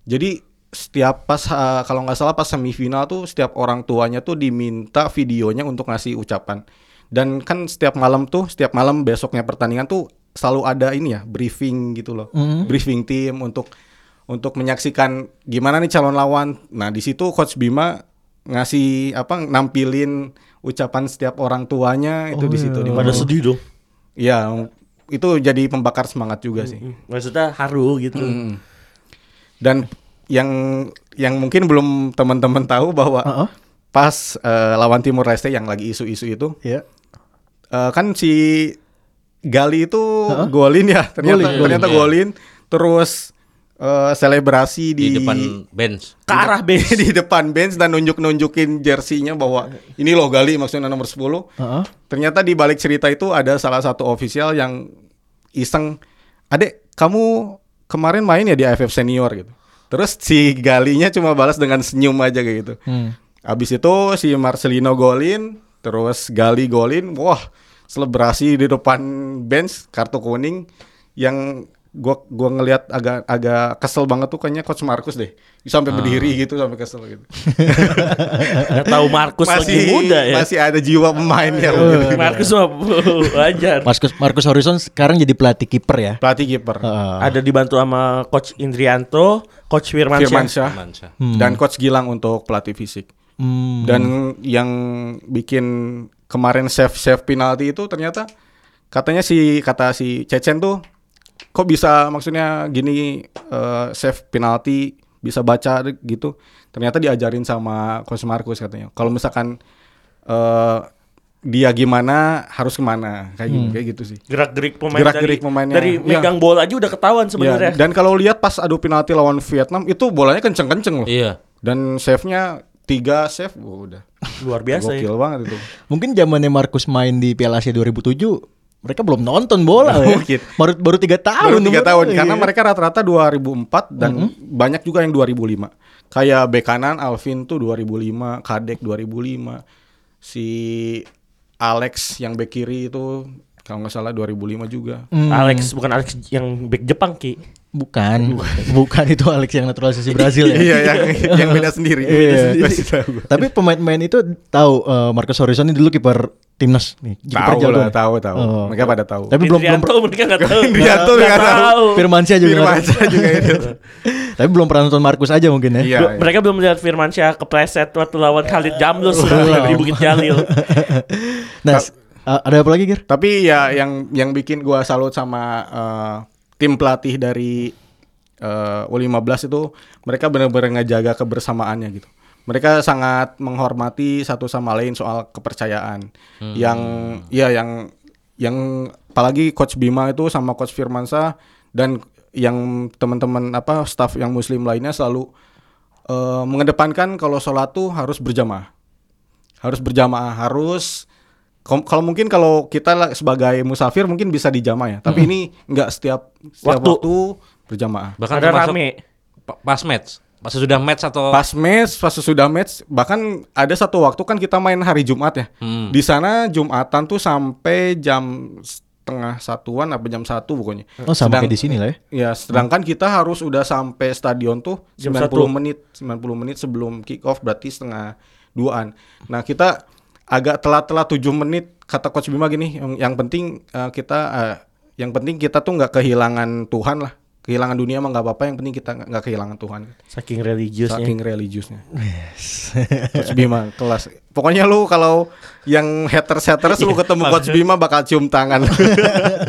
F: jadi setiap pas eh, kalau nggak salah pas semifinal tuh setiap orang tuanya tuh diminta videonya untuk ngasih ucapan. Dan kan setiap malam tuh setiap malam besoknya pertandingan tuh selalu ada ini ya briefing gitu loh. Briefing tim untuk untuk menyaksikan gimana nih calon lawan. Nah, di situ coach Bima ngasih apa nampilin ucapan setiap orang tuanya itu di situ di
E: Pada sedih dong.
F: Ya, itu jadi pembakar semangat juga sih.
E: Maksudnya haru gitu.
F: Hmm. dan yang yang mungkin belum teman-teman tahu bahwa
D: Uh-uh.
F: pas eh, lawan Timur Leste yang lagi isu-isu itu
D: Iya.
F: eh, kan si Gali itu golin ya ternyata
D: Golin, golin,
F: ternyata
C: iya.
F: golin terus eh, selebrasi
C: Di
F: di,
C: depan bench.
E: Ke arah bench.
F: di depan bench dan nunjuk-nunjukin jersinya bahwa ini loh Gali maksudnya nomor 10
D: Uh-uh.
F: Ternyata di balik cerita itu ada salah satu official yang iseng, "Adek, kamu kemarin main ya di AFF senior gitu." Terus si Galinya cuma balas dengan senyum aja kayak gitu.
D: Hmm.
F: Abis itu si Marcelino golin, terus Gali golin, wah selebrasi di depan bench kartu kuning yang gua gua ngelihat agak agak kesel banget tuh kayaknya coach Markus deh.
E: Ah.
F: Sampai berdiri gitu sampai kesel gitu.
E: Nggak tahu Markus lagi muda ya. Oh, iya.
F: Masih ada jiwa pemainnya gitu.
E: Markus mah wajar.
D: Marcus Marcus Horizon sekarang jadi pelatih kiper ya.
F: Pelatih kiper.
E: Ah.
D: Heeh.
E: Ada dibantu sama coach Indrianto, coach Firman Firmansyah.
F: Firmansyah
C: Mansyah.
F: Hmm. dan coach Gilang untuk pelatih fisik.
D: Hmm.
F: Dan yang bikin kemarin save save penalti itu ternyata katanya si kata si Cecen tuh kok bisa maksudnya gini eh, save penalti bisa baca gitu. Ternyata diajarin sama coach Markus katanya. Kalau misalkan eh, dia gimana harus kemana kayak gitu kayak gitu sih.
E: Gerak-gerik pemain
F: Gerak-gerik
E: dari,
F: pemainnya.
E: dari
F: Ya.
E: megang bola aja udah ketahuan
F: Ya,
E: sebenarnya.
F: dan kalau lihat pas adu penalti lawan Vietnam itu bolanya kenceng-kenceng loh.
C: Iya.
F: Dan save-nya tiga save, wah, udah.
E: Luar biasa ya.
F: Gokil banget itu.
D: Mungkin zamannya Marcus main di Piala Asia 2007 mereka belum nonton bola ya.
F: Mungkin.
D: Baru baru 3 tahun.
F: Baru
D: umurnya.
F: tiga tahun
D: Iya.
F: karena mereka rata-rata 2004 dan banyak juga yang 2005. Kayak bek kanan Alvin tuh 2005, Kadek 2005, si Alex yang bek kiri itu kalau nggak salah 2005 juga. Hmm.
E: Alex bukan Alex yang back Jepang ki.
D: bukan bukan itu Alex yang naturalisasi Brazil ya.
F: Iya yang yang beda sendiri.
D: Iya,
F: Beda sendiri. Kasih tahu gua.
D: Tapi pemain-pemain itu tahu eh, Marcus Horizon ini dulu kiper timnas nih. kiper
F: Tahu
D: jago nih.
F: lah, tahu tahu.
D: Oh.
F: Mereka pada tahu.
D: Tapi belum belum
E: Indrianto mereka nggak tahu.
F: Indrianto
E: Nggak
F: nggak tahu.
D: Firmansyah juga. nggak
F: Firmansyah juga itu.
D: tahu. Tapi belum pernah nonton Marcus aja mungkin ya.
F: Iya.
E: Bel- Mereka belum melihat Firmansyah kepleset waktu lawan Khalid Jamlus di Bukit Jalil.
D: Nah, s- eh, ada apa lagi, Gir?
F: Tapi ya yang yang bikin gua salut sama eh, tim pelatih dari eh, U15 itu mereka benar-benar ngejaga kebersamaannya gitu. Mereka sangat menghormati satu sama lain soal kepercayaan. Yang ya yang yang apalagi coach Bima itu sama coach Firmansyah dan yang teman-teman apa staff yang muslim lainnya selalu eh, mengedepankan kalau sholat tuh harus berjamaah harus berjamaah harus kom- kalau mungkin kalau kita lah sebagai musafir mungkin bisa dijamaah ya tapi
D: Hmm.
F: ini nggak setiap, setiap
E: Waktu.
F: waktu. berjamaah
C: Bahkan
E: Ada
C: termasuk
E: rame.
C: pa- pas match. Pas sudah match atau
F: pas match pas sudah match bahkan ada satu waktu kan kita main hari Jumat ya
C: Hmm.
F: di sana Jumatan tuh sampai jam setengah satuan apa jam satu pokoknya
D: Oh, sama
F: Sedang-
D: kayak di sini lah ya.
F: Ya, sedangkan kita harus udah sampai stadion tuh
E: Jam
F: 90
E: satu.
F: menit, 90 menit sebelum kick off berarti setengah duaan. Nah, kita agak telat-telat 7 menit kata coach Bima gini, yang, yang penting eh, kita eh, yang penting kita tuh nggak kehilangan Tuhan lah. Kehilangan dunia mah nggak apa-apa, yang penting kita nggak nggak kehilangan Tuhan.
E: Saking religiusnya.
F: Saking religiusnya. Coach Bima kelas. Pokoknya lu kalau yang haters-haters
E: Iya,
F: lu ketemu Coach Bima bakal cium tangan.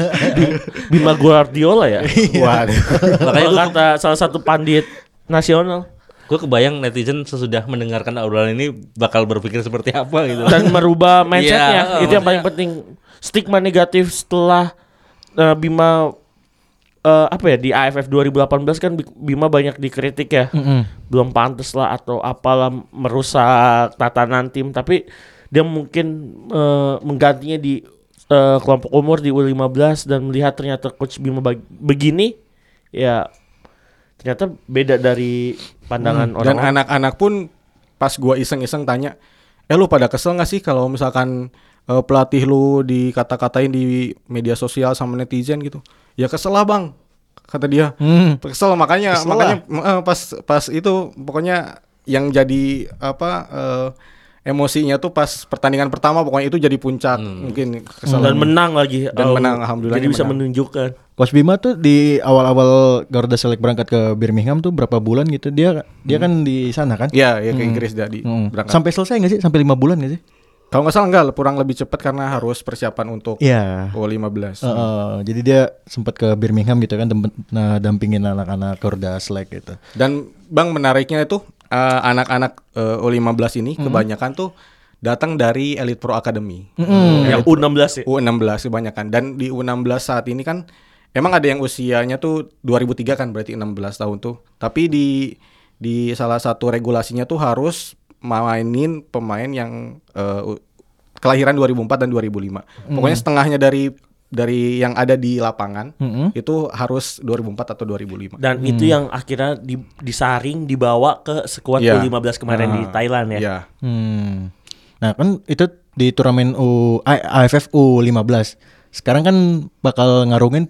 E: Bima Guardiola ya.
F: Iya. Waduh.
C: makanya
E: Kalau
C: gue
E: kata salah satu pandit nasional
C: gue kebayang netizen sesudah mendengarkan obrolan ini bakal berpikir seperti apa gitu.
F: Oh.
E: dan
C: Iya,
E: merubah mindsetnya itu yang paling penting stigma negatif setelah eh, Bima eh, apa ya di AFF 2018 kan Bi- Bima banyak dikritik ya belum pantas lah atau apalah merusak tatanan tim tapi dia mungkin eh, menggantinya di eh, kelompok umur di U15 dan melihat ternyata coach Bima bag- begini ya ternyata beda dari pandangan orang
F: Hmm. Dan anak-anak pun pas gua iseng-iseng tanya, eh lu pada kesel nggak sih kalau misalkan eh, pelatih lu dikata-katain di media sosial sama netizen gitu? Ya kesel lah bang, kata dia. Kesel
D: Hmm.
F: makanya
D: Kesel
F: makanya eh, pas pas itu pokoknya yang jadi apa eh, emosinya tuh pas pertandingan pertama pokoknya itu jadi puncak
D: Hmm.
F: mungkin kesel.
E: dan menang lagi
F: Dan
E: Oh,
F: menang, alhamdulillah
E: jadi bisa
F: menang.
E: menunjukkan
D: Coach Bima tuh di awal-awal Garuda Select berangkat ke Birmingham tuh berapa bulan gitu dia dia kan di sana kan?
F: Ya, ya ke Inggris jadi
D: Hmm.
F: berangkat.
D: Sampai selesai nggak sih? Sampai lima bulan nggak sih?
F: Kalau nggak salah enggak, kurang lebih cepat karena harus persiapan untuk
D: Iya.
F: U15.
D: Heeh, jadi dia sempat ke Birmingham gitu kan dem- nah, dampingin anak-anak Garuda Select gitu.
F: Dan Bang menariknya itu eh, anak-anak eh, U15 ini kebanyakan tuh datang dari Elite Pro Academy.
E: yang
F: Iya.
E: U16 ya
F: U16 kebanyakan dan di U16 saat ini kan emang ada yang usianya tuh 2003 kan berarti 16 tahun tuh. Tapi di di salah satu regulasinya tuh harus mainin pemain yang eh, u- kelahiran 2004 dan 2005. Pokoknya setengahnya dari dari yang ada di lapangan itu harus 2004 atau 2005.
E: dan itu yang akhirnya di- disaring dibawa ke sekuat
F: Iya.
E: U15 kemarin di ya.
F: Ah,
E: Thailand ya
F: Iya.
D: Hmm. Nah kan itu di turnamen U A- AFF U15. Sekarang kan bakal ngarungin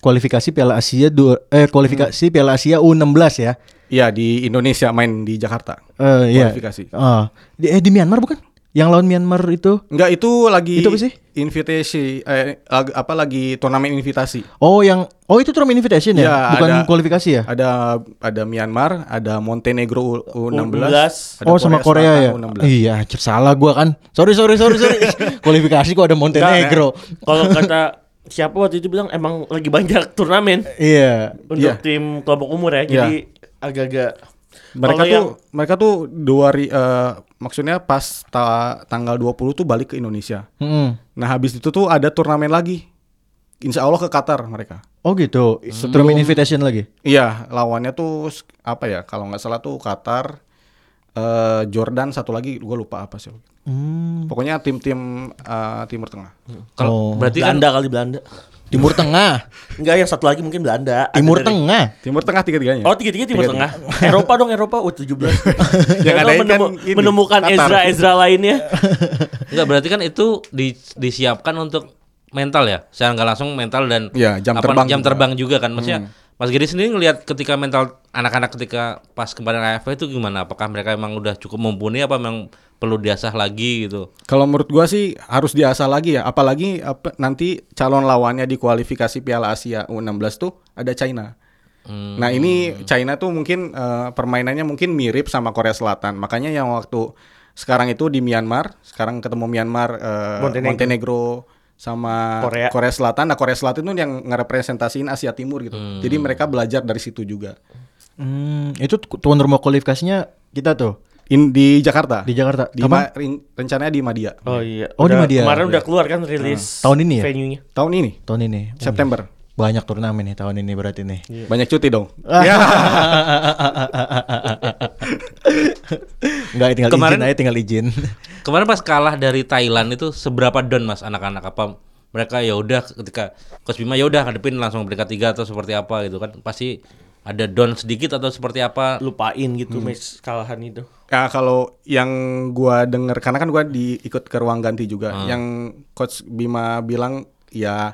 D: kualifikasi Piala Asia dua, eh kualifikasi Piala Asia U16 ya.
F: Iya di Indonesia main di Jakarta.
D: Eh iya.
F: Kualifikasi.
D: Ah, di, eh di Myanmar bukan? Yang lawan Myanmar itu.
F: Enggak itu lagi
D: Itu apa sih?
F: Invitasi eh, lag- apa lagi turnamen invitasi.
D: Oh yang oh itu turnamen invitation ya,
F: Iya,
D: bukan
F: ada-
D: kualifikasi ya?
F: Ada ada Myanmar, ada Montenegro U- U16,
E: U16.
F: ada
D: oh sama Korea ya.
F: Selatan U16.
D: Iya, anjir, salah gua kan. Sorry sorry sorry sorry. kualifikasi kok ada Montenegro.
E: Kalau kata siapa waktu itu bilang emang lagi banyak turnamen
D: Iya.
E: untuk
F: Iya.
E: tim kelompok umur ya. Jadi agak-agak Kalau
F: Mereka tuh
E: yang-
F: mereka tuh dua hari, eh, maksudnya pas ta- tanggal 20 tuh balik ke Indonesia.
D: Mm-mm.
F: Nah, habis itu tuh ada turnamen lagi. Insya Allah ke Qatar mereka.
D: Oh gitu. Turnamen invitation lagi.
F: Iya, lawannya tuh s- apa ya? Kalau nggak salah tuh Qatar, eh, Jordan, satu lagi gue lupa apa sih. Pokoknya tim-tim eh, Timur Tengah.
C: Kalau
D: Oh.
C: berarti kan
E: Belanda kali Belanda.
D: Timur Tengah,
E: Enggak yang satu lagi mungkin Belanda. Ada
D: Timur
E: dari-
D: Tengah.
F: Timur Tengah tiga-tiganya.
E: Oh tiga tiga timur tengah. Eropa dong Eropa Oh, U17.
F: Yang
E: Karena
F: adain kan
E: menemu-
F: ini,
E: menemukan
F: Qatar.
E: Ezra Ezra lainnya.
C: Enggak berarti kan itu di- disiapkan untuk mental ya, secara nggak langsung mental dan
F: Iya, jam
C: jam
F: terbang juga. Hmm.
C: terbang juga kan, maksudnya Mas Gede sendiri ngelihat ketika mental anak-anak ketika pas kemarin AFF itu gimana? Apakah mereka emang udah cukup mumpuni apa memang perlu diasah lagi gitu?
F: Kalau menurut gua sih harus diasah lagi ya, apalagi apa, nanti calon lawannya di kualifikasi Piala Asia U16 tuh ada China. Nah, ini China tuh mungkin eh, permainannya mungkin mirip sama Korea Selatan. Makanya yang waktu sekarang itu di Myanmar, sekarang ketemu Myanmar eh,
E: Montenegro.
F: Montenegro. sama
E: Korea.
F: Korea. Selatan. Nah, Korea Selatan tuh yang ngerepresentasiin Asia Timur gitu. Jadi mereka belajar dari situ juga.
D: Hmm, itu tu- tuan rumah kualifikasinya kita tuh
F: In, di Jakarta.
D: di Jakarta.
F: Di
D: Kapan?
F: Ma- rin- rencananya di Madia
E: Oh iya.
D: Oh, di
E: Udah-
D: Madia.
E: Kemarin udah keluar kan rilis
D: Tahun ini ya?
E: Venue-nya.
F: tahun ini,
D: Tahun ini. Oh,
F: September.
D: iya. Banyak turnamen nih tahun ini berarti nih.
F: Banyak cuti dong.
D: Enggak tinggal
C: Kemarin-
D: izin aja tinggal izin.
C: Kemarin pas kalah dari Thailand itu seberapa down Mas anak-anak apa mereka ya udah ketika Coach Bima ya udah ngadepin langsung peringkat tiga atau seperti apa gitu kan pasti ada down sedikit atau seperti apa
E: Lupain gitu match kalahan itu.
F: Ya kalau yang gua denger karena kan gua diikut ke ruang ganti juga. Yang coach Bima bilang ya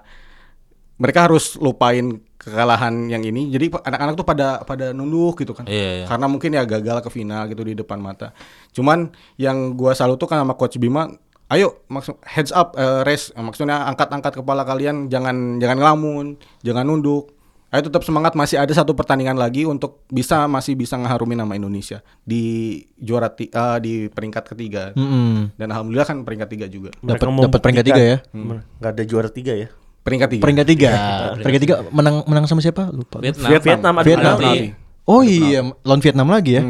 F: mereka harus lupain kekalahan yang ini. Jadi pa- anak-anak tuh pada pada nunduk gitu kan.
C: Iya, iya.
F: Karena mungkin ya gagal ke final gitu di depan mata. Cuman yang gua salut tuh kan sama coach Bima, ayo maksud heads up eh, raise maksudnya angkat-angkat kepala kalian jangan jangan ngelamun, jangan nunduk. Ayo tetap semangat masih ada satu pertandingan lagi untuk bisa masih bisa ngeharumin nama Indonesia di juara ti- eh, di peringkat ketiga.
D: Mm-mm.
F: Dan alhamdulillah kan peringkat tiga juga.
E: Mereka
D: Dapat-
E: mau
D: dapat peringkat tiga ya?
E: Hmm. Nggak ada juara tiga ya.
F: Peringkat tiga.
D: Peringkat tiga. Iya. Peringkat tiga menang menang sama siapa? Lupa.
C: Vietnam,
E: Nah, Vietnam, ada
D: Vietnam.
E: penalti.
C: Penalti.
D: Oh iya, lawan Vietnam lagi ya. Iya.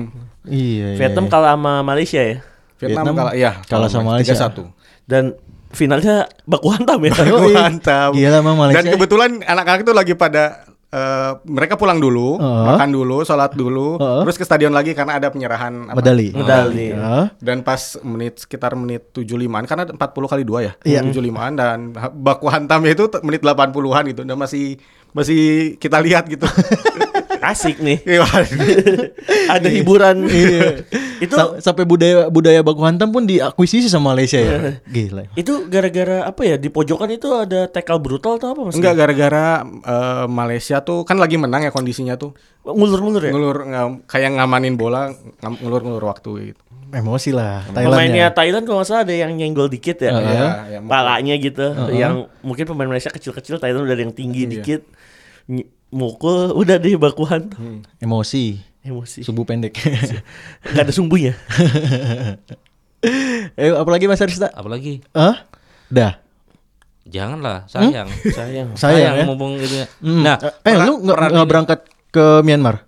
D: iya,
E: Vietnam
D: iya.
E: kalah sama Malaysia ya.
F: Vietnam,
D: Vietnam
F: kalah ya
D: kalah sama Malaysia.
F: 3-1.
E: Dan finalnya baku hantam ya.
D: Yoi.
F: Mantap.
D: iya. Gila, Mang, Malaysia. ya.
F: Dan kebetulan anak-anak itu lagi pada eh, mereka pulang dulu,
D: Heeh.
F: makan dulu, sholat dulu,
D: Heeh.
F: terus ke stadion lagi karena ada penyerahan
D: Uh-huh.
F: apa.
D: medali.
E: Medali.
D: Ya.
F: Dan pas menit sekitar menit 75-an karena ada 40 kali 2 ya.
D: Iya.
F: 75-an dan ha- baku hantamnya itu t- menit 80-an gitu. Dan masih masih kita lihat gitu.
E: Asik nih.
F: Iya.
E: ada
D: Iya.
E: hiburan.
D: Itu
E: itu
D: sampai budaya budaya baku hantam pun diakuisisi sama Malaysia ya. Gila.
E: itu gara-gara apa ya di pojokan itu ada tackle brutal atau apa mas?
F: Enggak gara-gara eh, Malaysia tuh kan lagi menang ya kondisinya tuh.
E: ngulur-ngulur ya.
F: Ngulur ngam- kayak ngamanin bola, ngam- ngulur-ngulur waktu gitu.
D: Emosi lah ya.
E: Pemainnya
D: Thailandnya.
E: Thailand kalau nggak salah ada yang nyenggol dikit ya,
D: Iya,
F: iya, mungkin.
E: palanya gitu. Yang mungkin pemain Malaysia kecil-kecil Thailand udah ada yang tinggi dikit, Ny- mukul udah deh bakuhan tuh.
D: Emosi.
E: emosi.
D: Subuh pendek.
E: Gak ada sumbunya.
D: eh apalagi Mas Arista?
C: apalagi
D: Hah? Dah.
C: janganlah sayang
E: Sayang.
D: Hmm? Sayang ya.
C: mumpung gitu ya.
D: Hmm.
C: Nah,
D: eh lu nggak nggak berangkat ke Myanmar?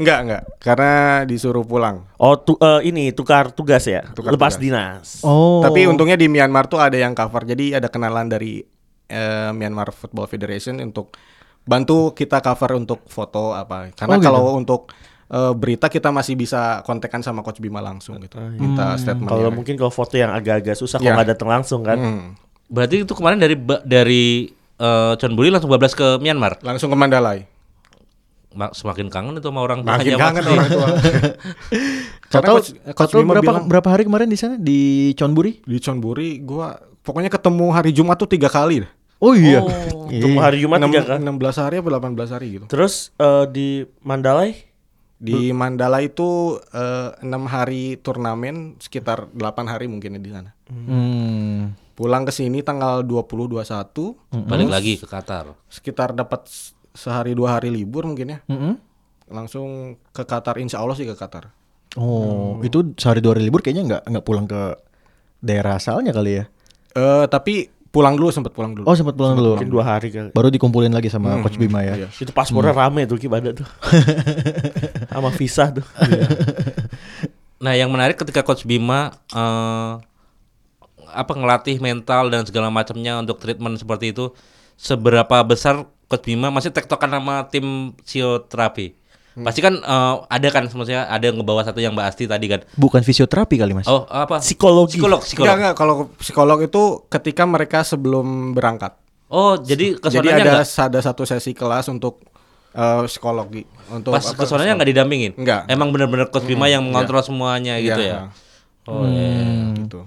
F: Enggak, enggak. Karena disuruh pulang.
E: Oh tu- eh, ini tukar tugas ya,
F: Tukar
E: lepas
F: tugas.
E: dinas.
D: Oh.
F: Tapi untungnya di Myanmar tuh ada yang cover. Jadi ada kenalan dari eh, Myanmar Football Federation untuk bantu kita cover untuk foto apa. Karena
D: Oh, gitu.
F: kalau untuk eh, berita kita masih bisa kontekan sama Coach Bima langsung gitu.
D: Ah, iya. Hmm.
F: Minta statement.
E: Kalau mungkin kalau foto yang agak-agak susah
F: Iya. Hmm.
E: kalau nggak datang langsung kan.
C: berarti itu kemarin dari ba- dari eh, Chonburi langsung bablas ke Myanmar.
F: Langsung ke Mandalay.
C: Ma- semakin kangen itu sama orang
D: Nah, iya,
C: tuanya,
F: Makin
C: Mas.
F: kangen orang tua.
D: Kau
F: Karena
D: tahu,
F: Coach-
D: kau
F: Coach
D: tahu
F: Bima
D: berapa
F: bilang-
D: berapa hari kemarin di sana di Chonburi?
F: Di Chonburi gua pokoknya ketemu hari Jumat tuh tiga kali dah.
D: Oh iya.
E: Tunggu hari Jumat
F: Enam-
E: tiga kan.
F: 16 hari apa 18 hari gitu.
E: Terus eh, di Mandalay
F: Di Mandala itu eh, enam hari turnamen sekitar 8 hari mungkin ya di sana.
D: Hmm.
F: Pulang ke sini tanggal 20 21
C: Balik lagi ke Qatar.
F: sekitar dapat se- sehari dua hari libur mungkin ya.
D: Mm-mm.
F: Langsung ke Qatar insya Allah sih ke Qatar.
D: Oh,
E: Hmm.
D: itu sehari dua hari libur kayaknya nggak nggak pulang ke daerah asalnya kali ya?
F: Eh tapi pulang dulu sempat pulang dulu.
D: Oh sempat pulang dulu.
E: mungkin dua hari kali.
D: Baru dikumpulin lagi sama
E: Hmm.
D: Coach Bima ya.
E: Itu paspornya
F: Hmm.
E: rame tuh kibada tuh. Sama visa tuh.
D: Iya.
C: Nah, yang menarik ketika Coach Bima eh, apa ngelatih mental dan segala macamnya untuk treatment seperti itu, seberapa besar Coach Bima masih tektokan sama tim fisioterapi? Pasti kan eh, ada kan maksudnya ada yang ngebawa satu yang Mbak Asti tadi kan.
D: Bukan fisioterapi kali mas?
C: Oh, apa?
E: Psikologi.
C: Psikolog,
F: Enggak,
C: psikolog.
F: enggak. Kalau psikolog itu ketika mereka sebelum berangkat.
C: Oh, jadi
F: Jadi
C: kesonanya
F: ada
C: enggak
F: ada satu sesi kelas untuk eh, psikologi untuk
C: pas
F: apa,
C: kesonanya enggak didampingin.
F: Enggak.
C: Emang benar-benar Coach Bima yang mengontrol semuanya gitu
F: Iya.
C: ya. Oh, iya.
F: gitu.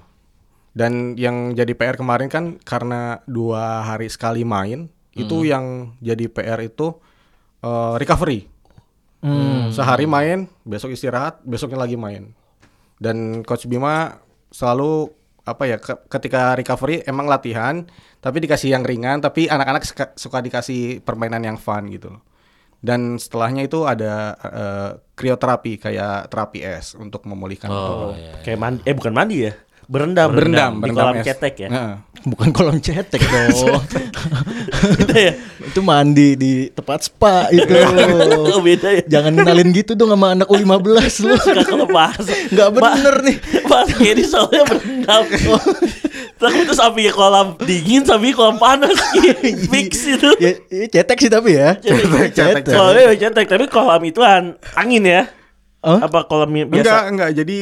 F: Dan yang jadi PR kemarin kan karena dua hari sekali main itu yang jadi PR itu eh, recovery. Sehari main, besok istirahat, besoknya lagi main. Dan Coach Bima selalu apa ya ke- ketika recovery emang latihan tapi dikasih yang ringan tapi anak-anak suka, suka dikasih permainan yang fun gitu loh. Dan setelahnya itu ada eh, krioterapi kayak terapi es untuk memulihkan
C: Oh,
F: otot.
C: iya.
E: Kayak mandi eh bukan mandi ya. Berendam.
F: Berendam,
E: di
F: berendam
E: kolam
F: es.
E: cetek ya.
F: Heeh.
D: Bukan kolam cetek dong.
E: Beda ya.
D: itu mandi di tempat spa itu.
E: Oh, beda ya.
D: Jangan kenalin gitu dong sama anak U15 lu.
E: Suka kelepas.
D: Nggak bener nih.
E: Mas Gary soalnya berendam. Takut terus sampai kolam dingin sampai kolam panas. Fix itu.
D: Ya, ya, cetek sih tapi ya.
E: Cetek,
F: cetek.
E: Soalnya ya cetek, tapi kolam itu an- angin ya.
D: Hah?
E: Apa kolam yang
F: Enggak,
E: biasa?
F: enggak. Jadi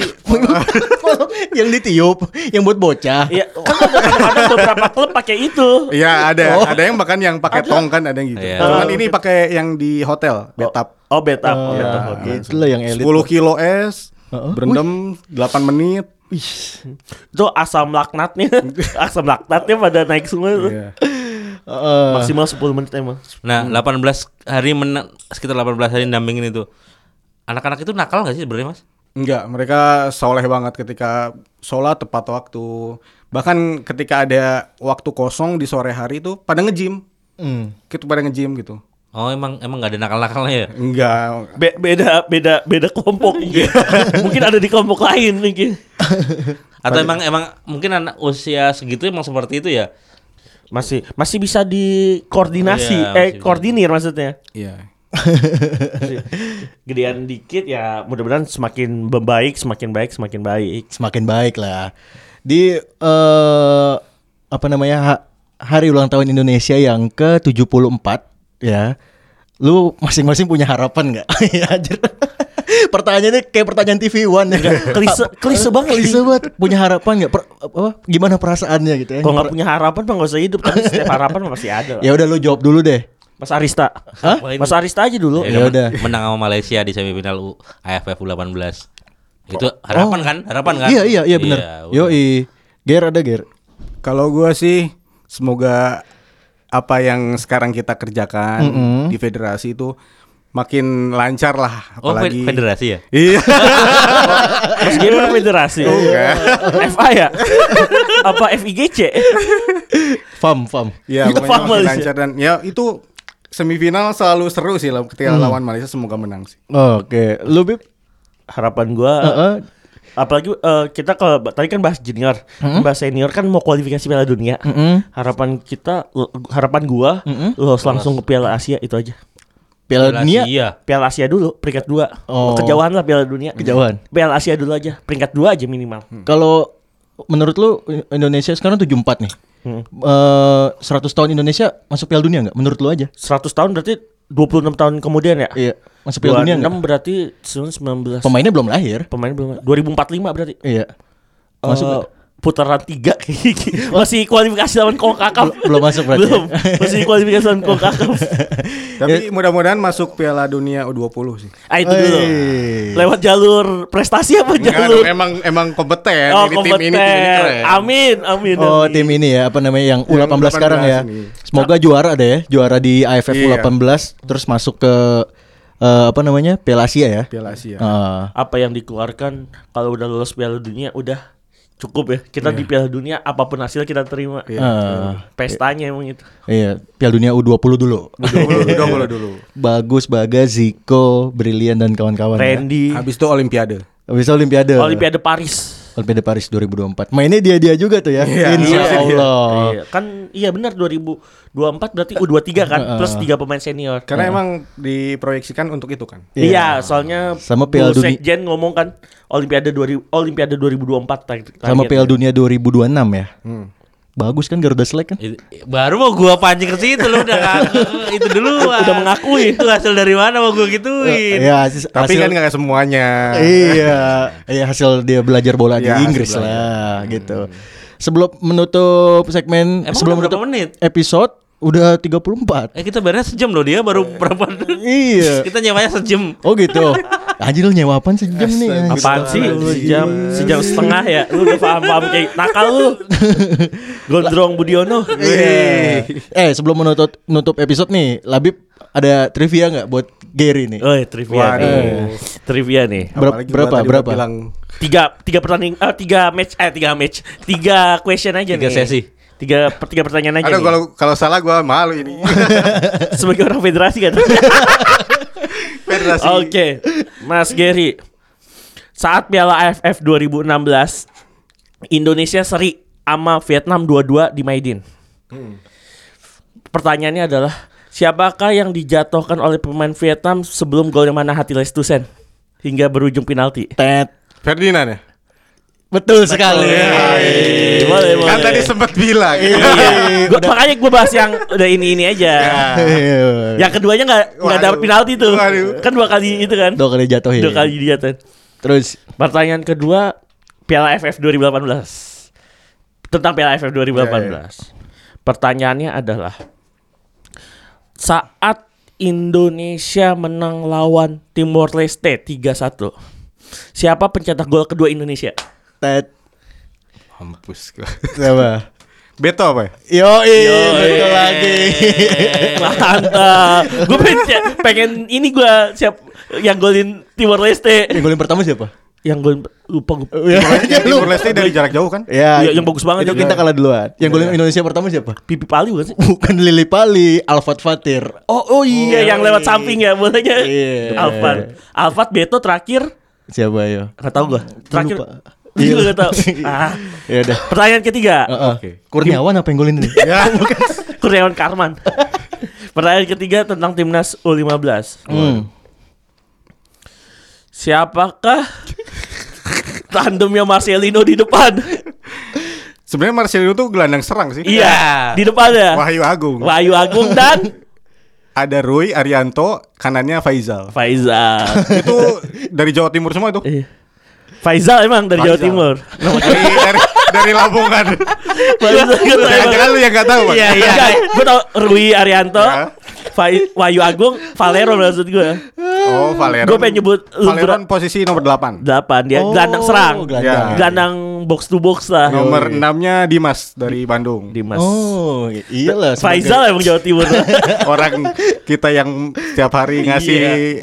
D: Kalau yang ditiup, yang buat bocah.
E: Iya, kan ada kadang-kadang beberapa klub pakai itu.
D: Iya,
F: ya ada ada yang bahkan yang pakai tong kan ada yang gitu.
C: Iya.
F: Cuman ini pakai yang di hotel, bathtub.
E: Oh, bet up,
D: Oh,
E: oh, bet up.
D: ya, itu lah yang elit.
F: 10 kilo es,
D: Heeh.
F: berendam 8 menit.
D: Wih,
E: Itu asam laknatnya, asam laknatnya pada naik semua itu.
D: Iya.
F: Iya.
D: eh,
E: Maksimal 10 menit emang.
D: Hmm.
C: Nah, 18 hari mena- sekitar 18 hari dampingin itu. Anak-anak itu nakal gak sih sebenarnya, Mas?
F: Enggak, mereka soleh banget ketika sholat tepat waktu. Bahkan ketika ada waktu kosong di sore hari itu pada nge-gym.
D: hmm.
F: Gitu pada nge-gym gitu.
C: Oh, emang emang gak ada nakal-nakalnya ya?
F: Enggak.
E: Be- beda beda beda kelompok
D: Iya.
E: mungkin. mungkin ada di kelompok lain mungkin.
C: Atau emang emang mungkin anak usia segitu emang seperti itu ya?
E: Masih masih bisa dikoordinasi,
C: Iya,
E: eh
C: masih bisa.
E: koordinir maksudnya.
F: Iya.
E: Gedean dikit ya, mudah-mudahan semakin membaik, semakin baik, semakin baik.
D: semakin baik lah. Di eh apa namanya ha- hari ulang tahun Indonesia yang ke-74 ya. Lu masing-masing punya harapan nggak? ya anjir. Pertanyaannya kayak pertanyaan TV One ya.
E: Iya. Klise, klise banget.
D: Klise banget. Punya harapan nggak? Per- apa, gimana perasaannya gitu ya?
E: Kalau nggak punya harapan mah nggak usah hidup, tapi setiap harapan mah pasti ada. lah.
D: Ya udah lu jawab dulu deh.
E: Mas Arista.
D: Hah?
E: Mas Arista aja dulu.
D: Ya udah.
C: Menang sama Malaysia di semifinal U AFF U18. Itu harapan
D: Oh.
C: kan? Harapan kan?
D: Iya iya iya benar.
C: udah.
D: Yoi. Ger ada Ger.
F: Kalau gua sih semoga apa yang sekarang kita kerjakan di federasi itu makin lancar lah
C: Oh, fe-
F: apalagi
C: federasi ya?
F: Iya.
E: Mas Gamer Federasi.
C: Oh, iya.
E: FA ya? Apa FIGC?
D: Fam fam.
F: Iya,
E: Kita
F: pokoknya
E: paham
F: makin
E: Malaysia.
F: lancar dan ya itu semifinal selalu seru sih lah ketika lawan Malaysia semoga menang sih.
D: Oke, lu
C: Eh.
D: Bib. Eh,
E: Harapan gua
D: Heeh.
E: apalagi eh, kita kalau tadi kan bahas junior, bahas senior kan mau kualifikasi Piala Dunia. Harapan kita harapan gua lolos langsung ke Piala Asia itu aja.
D: Piala Dunia.
C: Iya.
E: Piala Asia dulu peringkat 2.
D: Oh.
E: Kejauhan lah Piala Dunia.
D: Kejauhan. Hmm.
E: Piala Asia dulu aja, peringkat 2 aja minimal.
D: Kalau menurut lu Indonesia sekarang 74 nih.
F: Hmm.
D: Eh, 100 tahun Indonesia masuk Piala Dunia nggak? Menurut lu aja?
E: 100 tahun berarti 26 tahun kemudian ya?
D: Iya, masuk Piala Dunia
E: 26
D: nggak?
E: berarti 19
D: Pemainnya belum lahir.
E: pemain belum 2045 berarti.
D: Iya. Masuk
E: Eh,
D: nggak?
E: putaran tiga kayak gini. masih kualifikasi lawan Kokakap
D: Belum- belum masuk berarti ya?
E: belum masih kualifikasi lawan Kokakap
F: Tapi mudah-mudahan masuk Piala Dunia U20 sih.
E: ah itu dulu
D: Hey.
E: lewat jalur prestasi apa
F: Enggak
E: jalur
F: dong, emang emang kompeten
E: oh
F: ini
E: kompeten
F: tim ini tim ini keren.
E: amin amin
D: Oh
E: amin.
D: tim ini ya apa namanya yang U18
F: Yang
D: sekarang ya.
F: ini.
D: Semoga juara deh ya, juara di AFF
F: Iya.
D: U18 terus masuk ke eh, apa namanya Piala Asia ya.
F: Piala Asia.
D: Eh,
E: apa yang dikeluarkan kalau udah lolos Piala Dunia udah cukup ya
F: Iya.
E: kita di Piala Dunia apapun hasil kita terima
D: eh,
E: pestanya emang itu
D: iya Piala Dunia U20 dulu.
F: U20 dulu dulu.
D: Bagus Baga, Ziko, Brilian dan kawan-kawan. ya.
E: Randy
F: Habis itu Olimpiade.
D: Habis itu Olimpiade.
E: Olimpiade Paris
D: Olimpiade Paris 2024. Mainnya dia-dia juga tuh ya. Insya Allah.
E: Iya, kan iya benar 2024 berarti U23 kan plus tiga pemain senior
F: Eh,
D: Iya.
F: Karena emang diproyeksikan untuk itu kan.
E: Iya, soalnya
D: Sama Piala
E: Bu
D: Dunia-
E: Sekjen ngomong kan Olimpiade 2000 Olimpiade 2024 tar-
D: Sama
E: targetnya.
D: Piala Dunia 2026 ya. Bagus kan Garuda Select kan?
C: It- Baru mau gua pancing ke situ lu udah kan? ngaku- itu dulu.
E: Udah mengakui.
C: itu hasil dari mana mau gua gituin.
D: Iya, hasil- hasil-
F: Tapi kan nggak semuanya.
D: Iya, iya hasil dia belajar bola
F: Iya,
D: di
F: hasil
D: Inggris
F: belajar.
D: lah gitu. Sebelum menutup segmen
C: Emang
D: sebelum
C: udah berapa menit?
D: menutup episode udah 34.
C: Eh kita beres sejam loh dia baru berapa
D: iya.
C: kita nyamanya sejam.
D: Oh gitu. Anjir lu nyewa apaan sejam nih? gitu. Iya. anjir?
E: Apaan sih sejam sejam setengah ya lu udah paham paham kayak nakal lu Gondrong Budiono
D: Iya. Eh, sebelum menutup nutup episode nih, Labib ada trivia nggak buat Gary nih?
E: Oh trivia
F: Waduh.
E: nih Trivia nih
D: Ber-
F: Apalagi gua
D: berapa
F: tadi udah
D: berapa?
F: bilang,
E: Tiga Tiga pertanding eh, Tiga match Eh tiga match Tiga question aja
C: Tiga
E: nih
C: sesi.
E: Tiga per- Tiga pertanyaan aja
F: Aduh
E: nih.
F: kalau kalau salah gua malu ini.
E: Sebagai orang federasi kan
F: Federasi.
E: Oke, Mas Gary. Saat Piala AFF 2016, Indonesia seri sama Vietnam 22 di Maidin.
F: Hmm.
E: Pertanyaannya adalah, siapakah yang dijatuhkan oleh pemain Vietnam sebelum golnya mana Hatiles Tusen hingga berujung
F: Eh,
E: penalti?
D: Tet.
F: Ferdinand ya?
D: Betul sekali.
E: Eh, boleh,
F: Kan tadi sempat bilang.
E: Iya. Gua- makanya gue bahas yang udah ini ini aja.
D: Iya.
E: Yang keduanya nggak nggak
F: Waduh.
E: dapat penalti tuh,
F: Waduh.
E: kan dua kali itu kan,
D: Dua kali jatuh ya.
E: dua kali dijatuhin.
D: Terus
E: Pertanyaan kedua Piala AFF 2018 tentang Piala AFF 2018. Ya, Pertanyaannya adalah saat Indonesia menang lawan Timor Leste 3-1. Siapa pencetak gol kedua Indonesia?
D: Tet.
F: Hampus gua.
D: Apa?
F: Beto apa ya?
D: Yo, betul lagi.
E: Eh. Mantap. Gue pengen, ya, pengen ini gue siap yang golin Timor Leste.
D: Yang golin pertama siapa?
E: Yang golin lupa gue.
D: Iya.
F: Yang Iya, Timur Leste dari jarak jauh kan?
D: Ya,
E: Iya, Yang- yang bagus banget
D: itu
E: juga. Iya.
D: kita kalah duluan. Yang golin Indonesia pertama siapa?
E: Pipi Pali bukan sih?
D: Bukan Lili Pali, Alfat Fatir.
E: Oh, oh iya yang lewat samping ya bolanya.
D: Iya.
E: Alfat. Alfat Beto terakhir
D: Siapa iya? yo?
E: enggak tahu gua. Terakhir.
D: Lupa.
E: Iya
D: Iya. Oh.
E: enggak tahu. Ah.
D: Ya udah.
E: Pertanyaan ketiga.
D: Heeh. Kurniawan apa yang golin ini?
F: Ya.
E: Kurniawan Karman. Pertanyaan ketiga tentang timnas U15.
D: Hmm.
E: Siapakah tandemnya Marcelino di depan?
F: Sebenarnya Marcelino tuh gelandang serang sih.
E: iya, di depan ya.
F: Wahyu Agung.
E: Wahyu Agung dan
F: Ada Rui Arianto, kanannya Faizal.
E: Faizal.
F: itu dari Jawa Timur semua itu.
E: Iya. Faizal emang dari Jawa
F: Faizal. Iya.
E: Timur.
F: dari, dari dari Lamongan.
E: Faizal gitu emang.
F: Jangan-jangan lu yang gak tahu. Pak.
E: Iya iya. Gue tau Rui Arianto,
F: Ya.
E: Fai- Wahyu Agung, Valero maksud gue.
F: Oh, Valeron.
E: Gua pengen nyebut lu
F: Valeron posisi nomor 8.
E: Delapan dia
D: Oh,
E: gelandang serang, Iya.
D: gelandang.
F: Ya.
E: gelandang box to box lah.
F: Nomor 6-nya Dimas dari Bandung.
E: Dimas.
D: Oh, iyalah.
E: Faizal emang Jawa Timur.
F: Orang kita yang setiap hari ngasih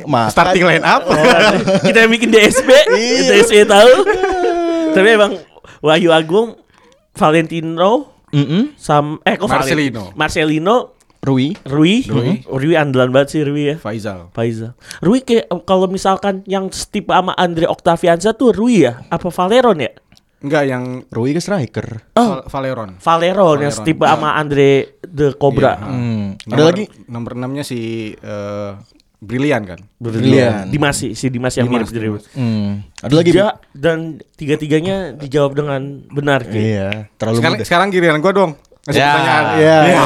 D: Makan.
F: starting line up.
E: kita yang bikin DSB,
D: Iya.
E: DSB tahu. Tapi emang Wahyu Agung, Valentino,
D: Mm
E: Sam, eh kok
F: Marcelino.
E: Valentino? Marcelino,
D: Rui.
E: Rui, Rui, andalan banget sih Rui ya.
F: Faizal.
E: Faizal. Rui kayak kalau misalkan yang setipe sama Andre Octavianza tuh Rui ya? Apa Valeron ya?
F: Enggak yang
D: Rui ke striker.
F: Val- Valeron.
E: Valeron, yang
F: Valeron. Iya.
E: setipe sama Andre the Cobra.
D: Hmm. Ada
F: Nomor-
D: lagi?
F: nomor 6-nya si eh, Brilian kan.
D: Brilian.
E: Dimas sih, si Dimas yang mirip
F: Dimas,
E: dari
F: Dimas.
D: Hmm. Ada Iya. lagi?
E: Ja, dan tiga-tiganya dijawab dengan benar
D: Bi?
E: Ki.
D: Iya, terlalu
F: Sekarang
D: mudah.
F: sekarang giliran gua dong. Kasih
C: Ya.
F: pertanyaan.
D: Iya. iya.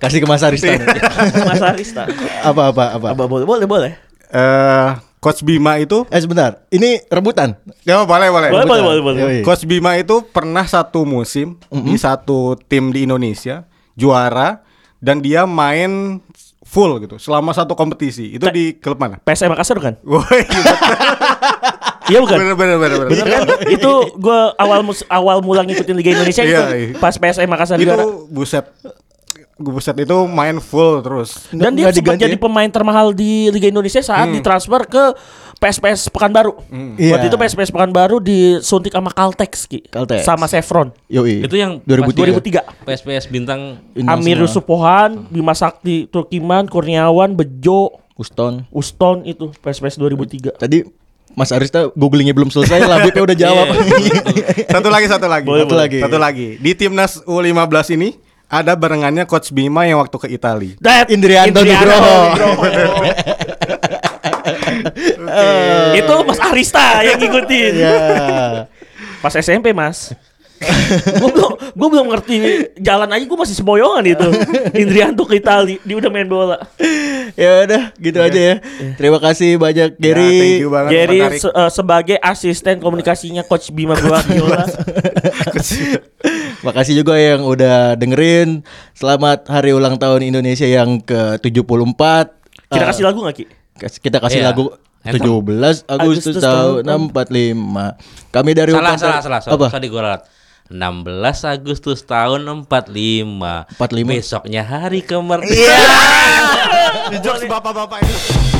D: Kasih ke Mas Aristan.
E: Iya. Mas Arista.
D: Apa apa apa?
E: Apa boleh boleh boleh.
F: Eh, Coach Bima itu
D: Eh sebentar, ini rebutan.
F: Ya boleh
D: Eh,
F: boleh.
E: Boleh, boleh, boleh, boleh.
D: Yoi.
F: Coach Bima itu pernah satu musim di satu tim di Indonesia juara dan dia main full gitu selama satu kompetisi. Itu
E: Ta-
F: di klub mana?
E: PSM Makassar kan?
F: Woi,
E: Iya bukan?
F: bener bener bener bener.
E: Bener
D: iya.
E: kan? itu gue awal mus- awal mula ngikutin Liga Indonesia itu
F: Iya, iya.
E: pas PSM Makassar
F: Itu
E: juara.
F: buset. Gue buset itu main full terus.
E: Dan dia
D: nggak
E: sempat
D: diganti
E: jadi
D: ya?
E: pemain termahal di Liga Indonesia saat ditransfer ke PSPS Pekanbaru.
D: Iya.
E: Waktu itu PSPS Pekanbaru disuntik sama Caltex, Ki.
D: Caltex.
E: sama Chevron.
D: Yoi.
C: Itu yang pas
D: 2003.
E: 2003.
C: PSPS bintang
E: Amir Yusupohan, Bima Sakti, Turkiman, Kurniawan, Bejo,
D: Uston.
E: Uston itu PSPS 2003.
D: Tadi Mas Arista googlingnya belum selesai, Labibnya udah jawab.
E: Iya,
F: Satu lagi satu lagi.
D: Boleh,
F: satu
D: boleh.
F: lagi. Satu lagi. Di timnas U15 ini ada barengannya Coach Bima yang waktu ke Italia.
E: That
D: Indrianto Nugroho.
E: Nugroho. itu Mas Arista yang ngikutin.
D: Ya.
E: Pas SMP mas gue belum gue belum ngerti jalan aja gue masih semboyongan itu Indrianto ke Itali dia udah main bola
D: Ya udah, gitu aja ya. Terima kasih banyak
F: Ya, thank
D: Gary.
F: you banget
E: Jerry
F: Pak Tarik.
E: se- eh, sebagai asisten komunikasinya coach Bima Guardiola
D: Makasih juga yang udah dengerin. Selamat hari ulang tahun Indonesia yang ke-74.
E: kita
D: Eh,
E: kasih lagu gak Ki?
D: Kas- kita kasih
C: Iya.
D: lagu
C: Anthem.
D: 17 Agustus,
E: Agustus
D: tahun
E: tahun
D: 45. Kami dari
C: salah,
D: Upan-
C: salah, salah, salah,
D: Apa?
C: Sorry, gua ralat. 16 Agustus tahun 45.
D: 45. Iya.
C: Besoknya hari kemerdekaan.
F: Jokes bapak-bapak ini.